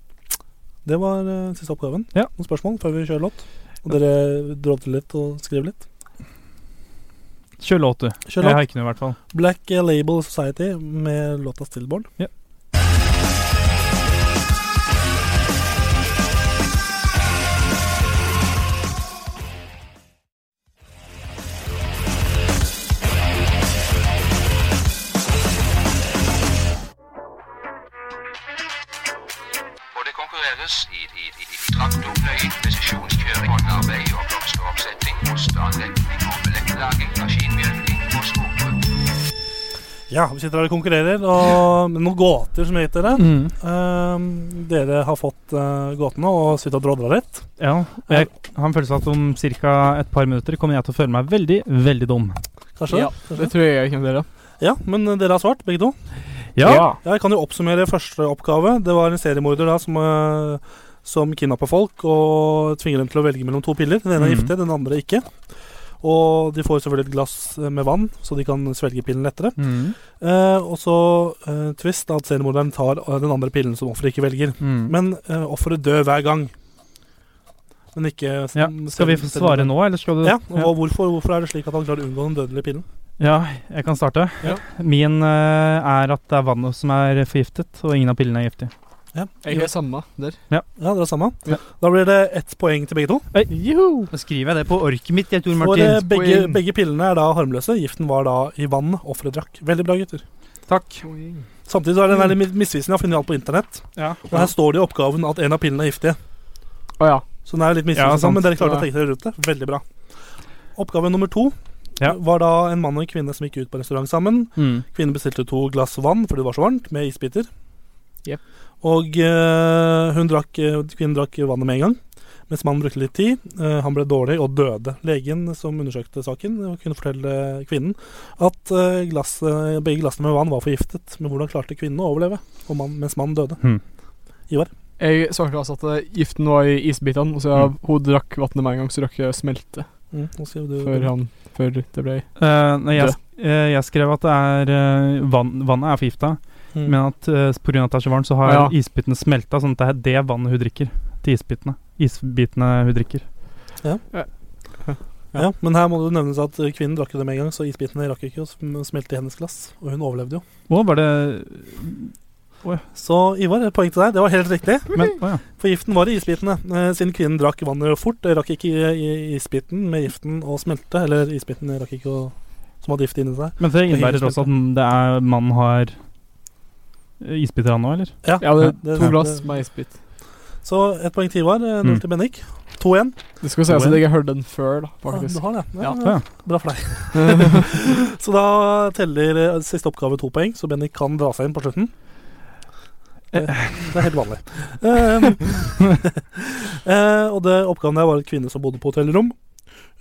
S2: Det var eh, siste oppgaven.
S5: Ja.
S2: Noen spørsmål før vi kjører låt? Og dere drodler litt og skriver litt?
S5: Kjør låt, du.
S2: Kjør
S5: Jeg
S2: låt.
S5: har ikke noe, i hvert fall.
S2: Black Label Society med låta Stillborn.
S5: Ja.
S6: hvor det konkurreres i, i, i, i traktorpløying, presisjonskjøring, håndarbeid og blomsteroppsetting, osteanretning og billettlaging, maskinmjølking og skogbruk.
S2: Ja, vi sitter her og konkurrerer, og med noen gåter som jeg gitt dere. Ehm, dere har fått eh, gåtene og sitter og drodler litt.
S5: Ja, og jeg har en følelse av at om ca. et par minutter kommer jeg til å føle meg veldig, veldig dum.
S2: Kanskje?
S4: Ja. Det tror jeg jeg kjenner dere.
S2: Ja, men eh, dere har svart, begge to. Ja, jeg kan jo oppsummere første oppgave. Det var en seriemorder da som, eh, som kidnappa folk og tvinger dem til å velge mellom to piller. Den ene er
S5: Mhm.
S2: giftig, den andre ikke. Og de får selvfølgelig et glass eh, med vann, så de kan svelge pillen lettere.
S5: Mm.
S2: Eh, og så eh, twist at seriemorderen tar eh, den andre pillen som offeret ikke velger.
S5: Mm.
S2: Men eh, offeret dør hver gang. Men ikke
S5: Ja, Skal vi få svare nå, eller skal du
S2: Ja, og Hvorfor, hvorfor er det slik at han klarer å unngå den dødelige pillen?
S5: Ja, jeg kan starte.
S4: Ja.
S5: Min eh, er at det er vannet som er forgiftet, og ingen av pillene er giftige.
S2: Ja,
S4: Jeg er samme der.
S2: ja dere er samme.
S5: Ja.
S2: Da blir det ett poeng til begge to.
S5: Da skriver jeg det på orket mitt, jeg, Tor
S2: For
S5: Martin.
S2: eh, begge,
S4: Poeng.
S2: begge pillene er da harmløse. Giften var da i vann offeret drakk. Veldig bra, gutter.
S5: Takk.
S2: Samtidig så er det veldig mi- misvisende. Jeg har funnet alt på internett.
S5: Mm. Ja.
S2: Og her står det i oppgaven at en av pillene er giftige.
S4: Å ja.
S2: Så den er litt
S5: Ja,
S2: misvisende,
S5: sant.
S2: men dere klarte
S4: Ja.
S2: å tenke dere rundt det. Veldig bra. Oppgave nummer to
S5: Ja.
S2: var da en mann og en kvinne som gikk ut på restaurant sammen.
S5: Mm.
S2: Kvinnen bestilte to glass vann fordi det var så varmt, med isbiter.
S4: Jep.
S2: Og eh, hun drakk, eh, kvinnen drakk vannet med en gang, mens mannen brukte litt tid. Eh, han ble dårlig og døde. Legen som undersøkte saken, eh, kunne fortelle kvinnen at eh, glasset, begge glassene med vann var forgiftet. Men hvordan klarte kvinnen å overleve og mann, mens mannen døde?
S4: Jeg svarte altså at eh, giften var i isbitene, og så jeg, hun drakk vannet med en gang, så rakk jeg å smelte
S2: Mm, nå skriver du-
S4: før, han, før det ble
S5: Eh, nei, jeg, eh, jeg skrev at det er eh, vann, vannet er forgifta,
S2: Mm.
S5: men at uh, pga. at det er så varmt, så har
S4: Ja.
S5: isbitene smelta, sånn at det er det vannet hun drikker. Til isbitene. Isbitene hun drikker.
S2: ja. men her må det nevnes at eh, kvinnen drakk jo det med en gang, så isbitene rakk ikke å sm- smelte i hennes glass. Og hun overlevde jo.
S5: Å, var det
S2: Så Ivar, et poeng til deg. Det var helt riktig.
S5: Men, å ja.
S2: For giften var i isbitene. Eh, siden kvinnen drakk vannet fort, eh, rakk ikke i- i- isbiten med giften å smelte. Eller isbiten rakk ikke å som hadde gift inni seg.
S5: Men det innebærer også at det er mannen har eh, isbiter, han òg, eller?
S4: Ja, det
S2: det-
S4: er to
S2: det-
S4: glass med isbit.
S2: Så ett poeng til Ivar, eh, null
S5: Mm.
S2: til Bennik. 2-1.
S4: Det skal sies at jeg har hørt den før, da,
S2: Ah, Du
S4: faktisk.
S2: har det. Ja,
S4: Ja.
S5: Ja.
S2: Bra for deg. så da teller eh, siste oppgave to poeng, så Bennik kan dra seg inn på slutten. Eh, Det er helt vanlig. Eh, eh, og det oppgaven der var en kvinne som bodde på hotellrom.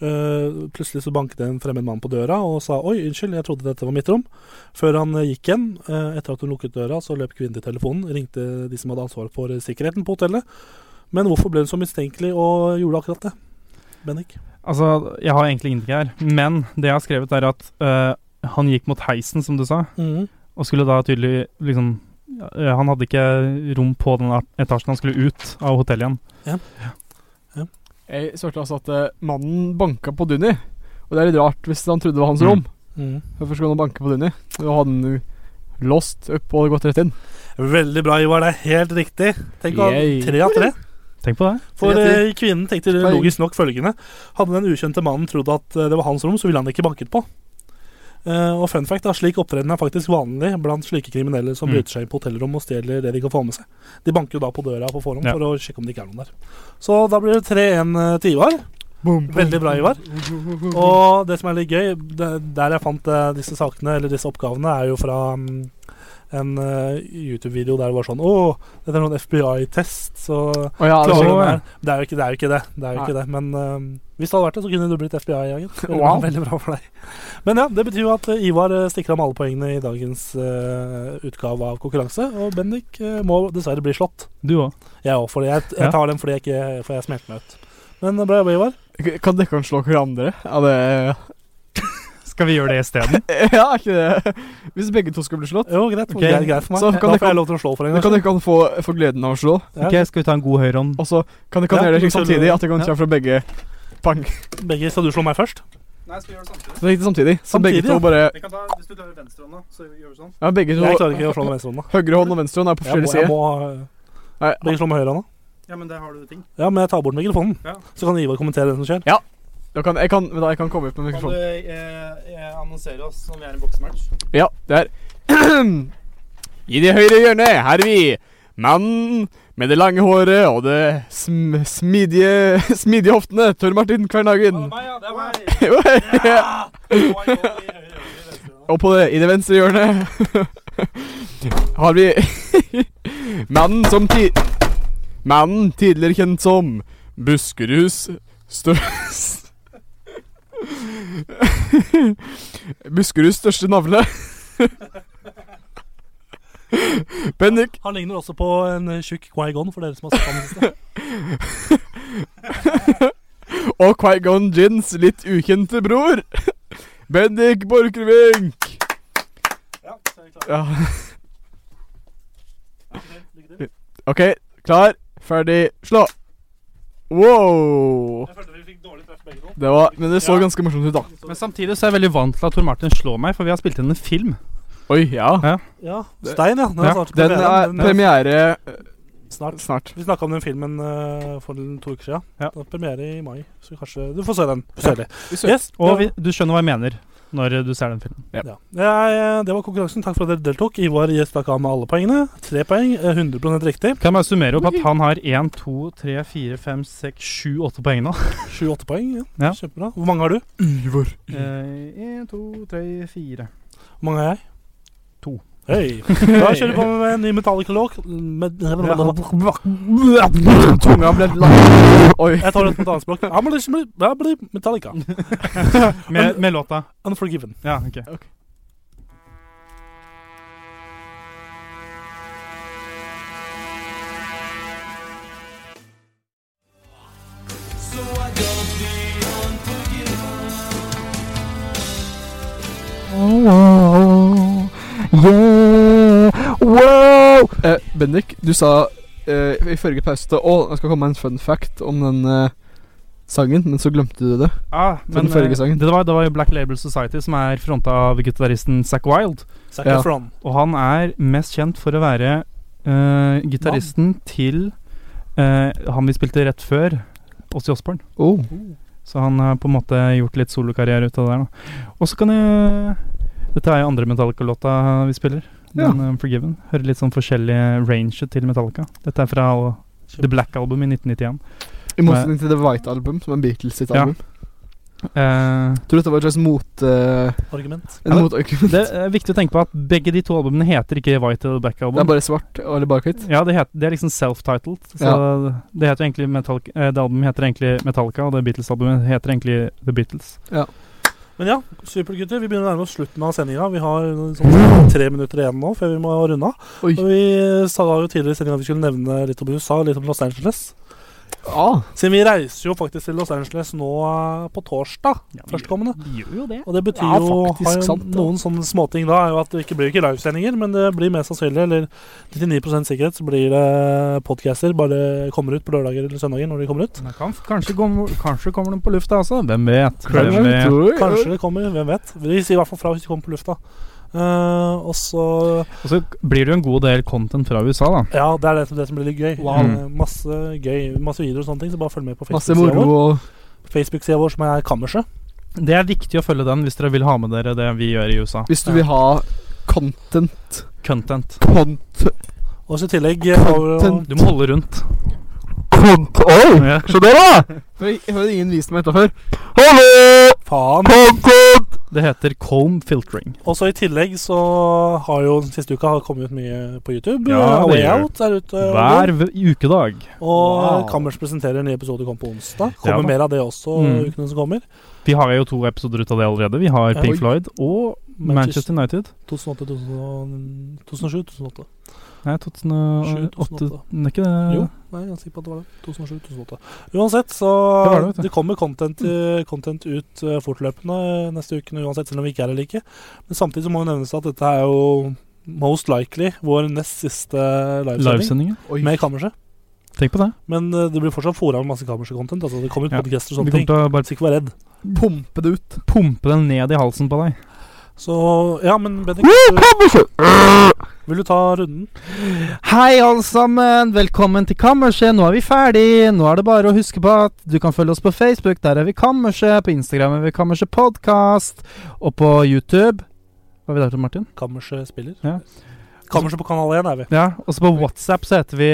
S2: Eh, plutselig så banket en fremmed mann på døra og sa 'oi, unnskyld, jeg trodde dette var mitt rom'. Før han eh, gikk igjen, eh, etter at hun lukket døra, så løp kvinnen til telefonen, ringte de som hadde ansvaret for eh, sikkerheten på hotellet. Men hvorfor ble hun så mistenkelig og gjorde akkurat det? Bennik?
S5: Altså, jeg har egentlig ingenting her, men det jeg har skrevet, er at eh, han gikk mot heisen, som du sa, og skulle da tydelig liksom eh, Han hadde ikke rom på den ar- etasjen, han skulle ut av hotellet igjen.
S4: Jeg svarte altså at eh, mannen banka på Dunny. Og det er litt rart hvis han trodde det var hans
S5: Mm.
S4: rom.
S2: Mhm.
S4: Hvorfor skulle han banke på Dunny? Da hadde han jo låst opp og gått rett inn.
S2: Veldig bra, Ivar. Det er helt riktig. Tenk å ha
S4: Yay.
S2: tre av tre.
S5: Tenk på det.
S2: For
S4: Tre av tre.
S2: eh, kvinnen tenkte
S4: Poeng.
S2: logisk nok følgende. Hadde den ukjente mannen trodd at eh, det var hans rom, så ville han ikke banket på. Eh, og fun fact, da, slik opptreden er faktisk vanlig blant slike kriminelle som
S5: Mm.
S2: bryter seg inn på hotellrom og stjeler det de kan få med seg. De banker jo da på døra på forhånd
S5: Ja.
S2: for å sjekke om det ikke er noen der. Så da blir det 3-1 til Ivar. Veldig bra, Ivar. Og det som er litt gøy, det, der jeg fant eh, disse sakene, eller disse oppgavene, er jo fra mm, en eh, YouTube-video der det var sånn Å, dette er sånn FBI-test, så
S4: Å ja, det
S2: klarer
S4: skjer.
S2: du
S5: ja.
S2: det. her?» Det er jo ikke det. Er jo ikke det. det, er jo ikke det. Men eh, hvis det hadde vært det, så kunne du blitt FBI-agent. Veldig, bra-
S4: Wow.
S2: veldig bra for deg. Men ja, det betyr jo at eh, Ivar eh, stikker av med alle poengene i dagens eh, utgave av konkurranse, og Bendik eh, må dessverre bli slått.
S5: Du òg.
S2: Jeg òg, fordi jeg,
S5: Ja.
S2: jeg tar den fordi jeg, ikke, fordi jeg smelte meg ut. Men eh, det ble Wavar.
S4: K- Kan dere kan slå hverandre? Ja, det
S5: Skal vi gjøre det isteden?
S4: Ja, er ikke det Hvis begge to skulle bli slått,
S2: Jo, greit.
S5: Ok.
S2: Det er greit for meg.
S4: Så kan
S2: da
S4: det-
S2: får jeg lov til å slå for en
S4: da
S2: gang.
S4: kan dere kan få, få gleden av å slå.
S2: Ja.
S5: Ok, Skal vi ta en god høyrehånd?
S4: Og så kan dere kan
S2: Ja,
S4: gjøre det slik
S2: så-
S4: samtidig at dere kan
S5: ja.
S4: treffe fra begge pang.
S2: Begge, Skal du slå meg først?
S4: Så det gikk det samtidig. Så
S2: Samtidig,
S4: begge to
S2: ja.
S4: bare
S5: Hvis du tar venstrehånda, så gjør du sånn.
S4: Ja, begge
S2: Jeg klarer ikke å
S4: to
S2: slå med venstrehånda.
S4: Høyre hånd og venstre hånd er på
S2: Jeg
S4: forskjellige
S2: må, jeg
S4: sider.
S2: må eh,
S4: Nei,
S2: begge slå med høyrehånda.
S5: Ja, men det har du ting.
S2: Ja, men jeg tar bort mikrofonen.
S5: Ja.
S2: Så kan Ivar kommentere det som skjer.
S4: da kan, jeg, kan, vent da, jeg kan komme ut med mikrofonen.
S5: eh, annonsere oss som vi er i boksematch?
S4: Ja, det er I det høyre hjørnet, her er vi. Mannen med det lange håret og det sm smidige, smidige hoftene, Tor Martin
S5: Mm.
S4: Kvernhagen. og på det, i det venstre hjørnet har vi mannen som ti Mannen tidligere kjent som Buskerus størst Buskeruds største navle. Bendik
S2: Han ligner også på en eh, tjukk Quaigon, for dere som har sett ham i det siste.
S4: og Quaigon Jins litt ukjente bror. Bendik Borchgrevink. Ja. OK, klar, ferdig, slå. Wow. Det var, men det så ganske morsomt ut, da.
S5: Men samtidig så er jeg veldig vant til at Tor Martin slår meg, for vi har spilt inn en film.
S4: Oi, ja.
S2: Ja, Stein, ja. Den er
S5: Ja,
S2: snart,
S4: Den er
S2: premiere.
S4: premiere eh,
S2: snart.
S4: snart.
S2: Vi snakka om den filmen eh, for en to uker siden.
S5: Ja.
S2: Det er premiere i mai, så kanskje Du får se den. Du får se det.
S4: ser
S2: Yes,
S5: Og
S2: det-
S5: vi, du skjønner hva jeg mener når du ser den filmen.
S2: ja. Jeg, det var konkurransen. Takk for at dere deltok. Ivar stakk av med alle poengene. Tre poeng. eh, 100 riktig.
S5: Kan jeg bare summere opp at han har 1, 2, 3, 4, 5, 6, 7, 8 poeng nå.
S2: Sju-åtte poeng. Ja.
S5: Ja.
S2: Kjempebra. Hvor mange har du?
S5: 1, 2, 3, 4
S2: Hvor mange har jeg?
S5: To.
S2: Hei. Da kjører vi på med en ny Metallica-låt.
S4: Tunga ble lang. Oi.
S2: Jeg tar det på et annet språk. Abolition- Abolition Metallica.
S5: med, med låta.
S2: Unforgiven.
S5: Ja, ok.
S4: Eh, Bendik, du sa eh, i forrige pause til Å, det skal komme en fun fact om den eh, sangen, men så glemte du det.
S5: Ah, men,
S4: den forrige
S5: eh,
S4: sangen.
S5: Det var, det var jo Black Label Society som er fronta av gitaristen Zack Wild.
S2: Zac
S4: Ja.
S2: Efron.
S5: Og han er mest kjent for å være eh, gitaristen til eh, han vi spilte rett før, Åssi Osborn.
S4: Oh.
S5: Så han har på en måte gjort litt solokarriere ut av det der nå. Og så kan jeg Dette er jo andre Metallica-låta vi spiller. Den eh, Forgiven. Hører litt sånn forskjellige range til Metallica. Dette er fra eh, The Black Album i 1991.
S4: I motsetning til The White Album, som er Beatles sitt
S5: Ja.
S4: album.
S5: Eh,
S4: Tror dette var et slags mot... eh,
S2: Argument.
S4: en
S5: Ja, det-
S4: motargument.
S5: det er viktig å tenke på at begge de to albumene heter ikke White eller Black
S4: Det
S5: Album.
S4: er bare svart, eller bare hvitt.
S5: Ja, det, het, det er liksom self-titled. Så det heter jo egentlig Metallica, eh, Det albumet heter egentlig Metallica, og det Beatles-albumet heter egentlig The Beatles.
S2: Men ja, supert, gutter. Vi begynner å nærme oss slutten av sendinga. Vi har sånn tre minutter igjen nå før vi må runde av.
S4: Oi.
S2: Og vi eh, sa jo tidligere i sendinga at vi skulle nevne litt om USA, litt om Los Angeles.
S4: Ah,
S2: Siden vi reiser jo faktisk til Los Angeles nå eh, på torsdag førstkommende.
S5: Gjør jo det.
S2: Og det betyr
S4: Ja,
S2: jo
S4: faktisk,
S2: har jo
S4: sant, ja.
S2: Noen sånne småting da er jo at det ikke blir ikke livesendinger, men det blir mest sannsynlig, eller 99 sikkerhet, så blir det podcaster. Bare kommer ut på lørdager eller søndager når de kommer ut.
S5: kanskje, kommer, kanskje kommer de på lufta også. Hvem vet? Hvem
S4: jeg
S5: vet?
S4: tror-
S2: Kanskje det kommer, hvem vet. Vi sier i hvert fall fra hvis de kommer på lufta. Eh, og så
S5: Og så blir det jo en god del content fra USA, da.
S2: Ja, det er det som, det som blir litt gøy.
S5: Wow.
S2: Eh, Masse gøy, masse videoer og sånne ting, så bare følg med på
S4: Masse
S2: Facebook-sida
S4: moro
S2: vår.
S4: og...
S2: Facebook-sida vår som er Kammerset.
S5: Det er viktig å følge den hvis dere vil ha med dere det vi gjør i USA.
S4: Hvis du vil ha content...
S5: Content.
S4: Cont...
S2: Og så i tillegg eh, har vi jo-
S5: Du må holde rundt.
S3: Kont... Oi,
S5: Ja.
S3: se der, da!
S4: Oi, Jeg har ingen vist meg utenfor.
S3: Hallo!
S2: Faen.
S3: Content!
S5: Det heter comb filtering.
S2: Og så i tillegg så har jo den siste uka har kommet ut mye på YouTube.
S5: Ja,
S2: Eh,
S5: det
S2: Way
S5: gjør
S2: Out er ute. og går.
S5: Hver v- ukedag.
S2: Og
S4: Wow.
S2: Kammers presenterer en ny episode kommer på onsdag. Kommer
S5: Ja da.
S2: mer av det også
S5: Mm.
S2: ukene som kommer.
S5: Vi har jo to episoder ut av det allerede. Vi har
S2: Ja.
S5: Pink
S2: Oi.
S5: Floyd og Manchester United.
S2: 2008, 2007, 2008.
S5: Nei, 2008
S2: 2008.
S5: Det er ikke det?
S2: Jo, nei, jeg er sikker på at det var det. 2007-2008. Uansett, så
S5: Det
S2: det,
S5: var det, vet du.
S2: kommer content, eh, content ut eh, fortløpende eh, neste uke, uansett, selv om vi ikke er her like. Men samtidig så må det nevnes at dette er jo most likely vår nest siste livesending
S5: Livesendinger.
S2: med Kammerset.
S5: Tenk på det.
S2: Men eh, det blir fortsatt fora med masse Kammerset-content. Altså, det kommer ut
S5: Ja,
S2: podcaster
S5: Du
S2: og
S5: kommer
S2: sånne ting.
S5: til å bare
S2: Så ikke vær redd.
S4: Pumpe det ut.
S5: pumpe den ned i halsen på deg.
S2: Så ja, men Bendik, eh, vil du ta runden?
S5: Hei, alle sammen. Velkommen til Kammerset. Nå er vi ferdig. Nå er det bare å huske på at du kan følge oss på Facebook. Der er vi Kammerset. På Instagram er vi Kammerset Podcast. Og på YouTube Hva er vi der til, Martin?
S2: Kammerset spiller.
S5: Ja.
S2: Kammerset på kanal 1 er vi.
S5: Ja, Og så på WhatsApp så heter vi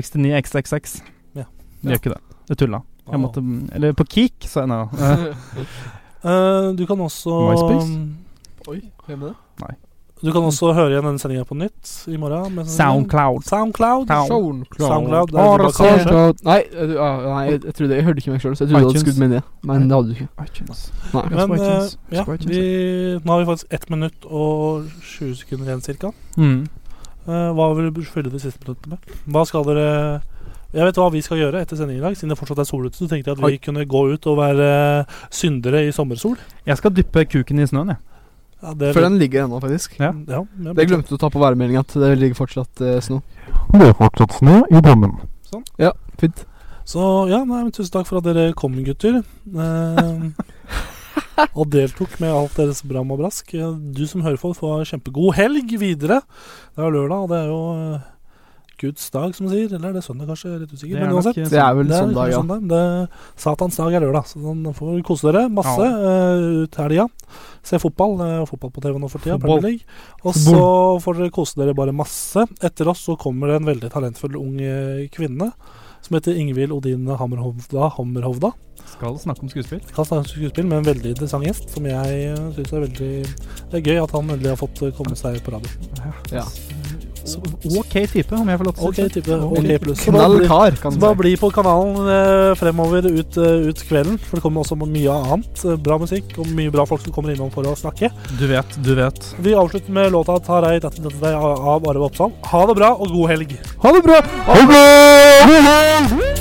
S5: Kammerset69xxx.
S2: Ja.
S5: Vi gjør ikke det. Det tulla. Jeg måtte, eller på Kik, sa jeg nå. Eh,
S2: Eh, du kan også
S5: MySpace?
S4: Oi, hvem er det?
S2: Du kan også høre igjen denne sendinga på nytt i morgen. med- sånn-
S5: Soundcloud.
S2: Soundcloud.
S5: Sound-
S2: Soundcloud, det er
S4: Bare
S2: bare
S4: se-
S2: kanskje.
S4: Nei, eh, du- ah, nei jeg, jeg trodde Jeg hørte ikke meg sjøl, så jeg trodde du hadde
S5: iTunes.
S4: skutt meg ned. Men det hadde du ikke.
S5: iTunes.
S4: Nei.
S2: Men
S5: Ganske
S2: eh,
S5: iTunes.
S2: ja,
S5: Ganske iTunes.
S2: vi, nå har vi faktisk 1 minutt og 20 sekunder igjen ca.
S5: Mm.
S2: hva vil du fylle de siste minuttene med? Hva skal dere Jeg vet hva vi skal gjøre etter sending i dag, siden det fortsatt er sol ute. Så tenkte jeg at vi
S4: Oi.
S2: kunne gå ut og være syndere i sommersol.
S5: Jeg skal dyppe kuken i snøen, jeg.
S2: Ja, det
S4: For den ligger ennå, faktisk.
S5: Ja.
S2: ja, ja,
S4: Det glemte du å ta på værmeldinga, at det ligger fortsatt eh, snø.
S3: Det er fortsatt snø i Drammen.
S4: Fint.
S2: Så ja, nei, men tusen takk for at dere kom, gutter. Eh, og deltok med alt deres bram og brask. Eh, Du som hører på, får kjempegod helg videre. Det er jo lørdag, og det er jo eh, Guds dag, som man sier. Eller er det søndag, kanskje? Jeg er Litt usikker. Men uansett.
S5: nok, eh,
S4: Det er vel
S2: Det er liksom-
S4: søndag,
S2: kanskje
S4: ja.
S2: søndag. Det satans dag er lørdag, så den får vi kose dere masse eh, ut helga. Se fotball. eh, fotball på TV nå for tida.
S5: Fotball.
S2: Premier League. Og så får dere kose dere bare masse. Etter oss så kommer det en veldig talentfull ung eh, kvinne som heter Ingvild Odine Hammerhovda. Hammerhovda.
S5: Skal snakke om skuespill.
S2: Kan snakke om skuespill med en veldig interessant gjest, som jeg syns er veldig Det er gøy at han endelig har fått eh, komme seg på radio.
S4: Ja.
S2: Så,
S5: Ok type, om jeg får lov til å
S2: OK,
S5: si det.
S2: type. OK
S5: Veldig
S2: pluss.
S4: Knall kar, kan
S2: Så
S4: du
S2: bare
S4: si.
S2: bli på kanalen eh, fremover ut, eh, ut kvelden, for det kommer også mye annet. eh, Bra musikk og mye bra folk som kommer innom for å snakke.
S5: Du vet, du vet.
S2: Vi avslutter med låta 'Tarei dette dette deg' av Arve Oppsal. Ha det bra og god helg.
S4: Ha det bra!
S3: Ha det!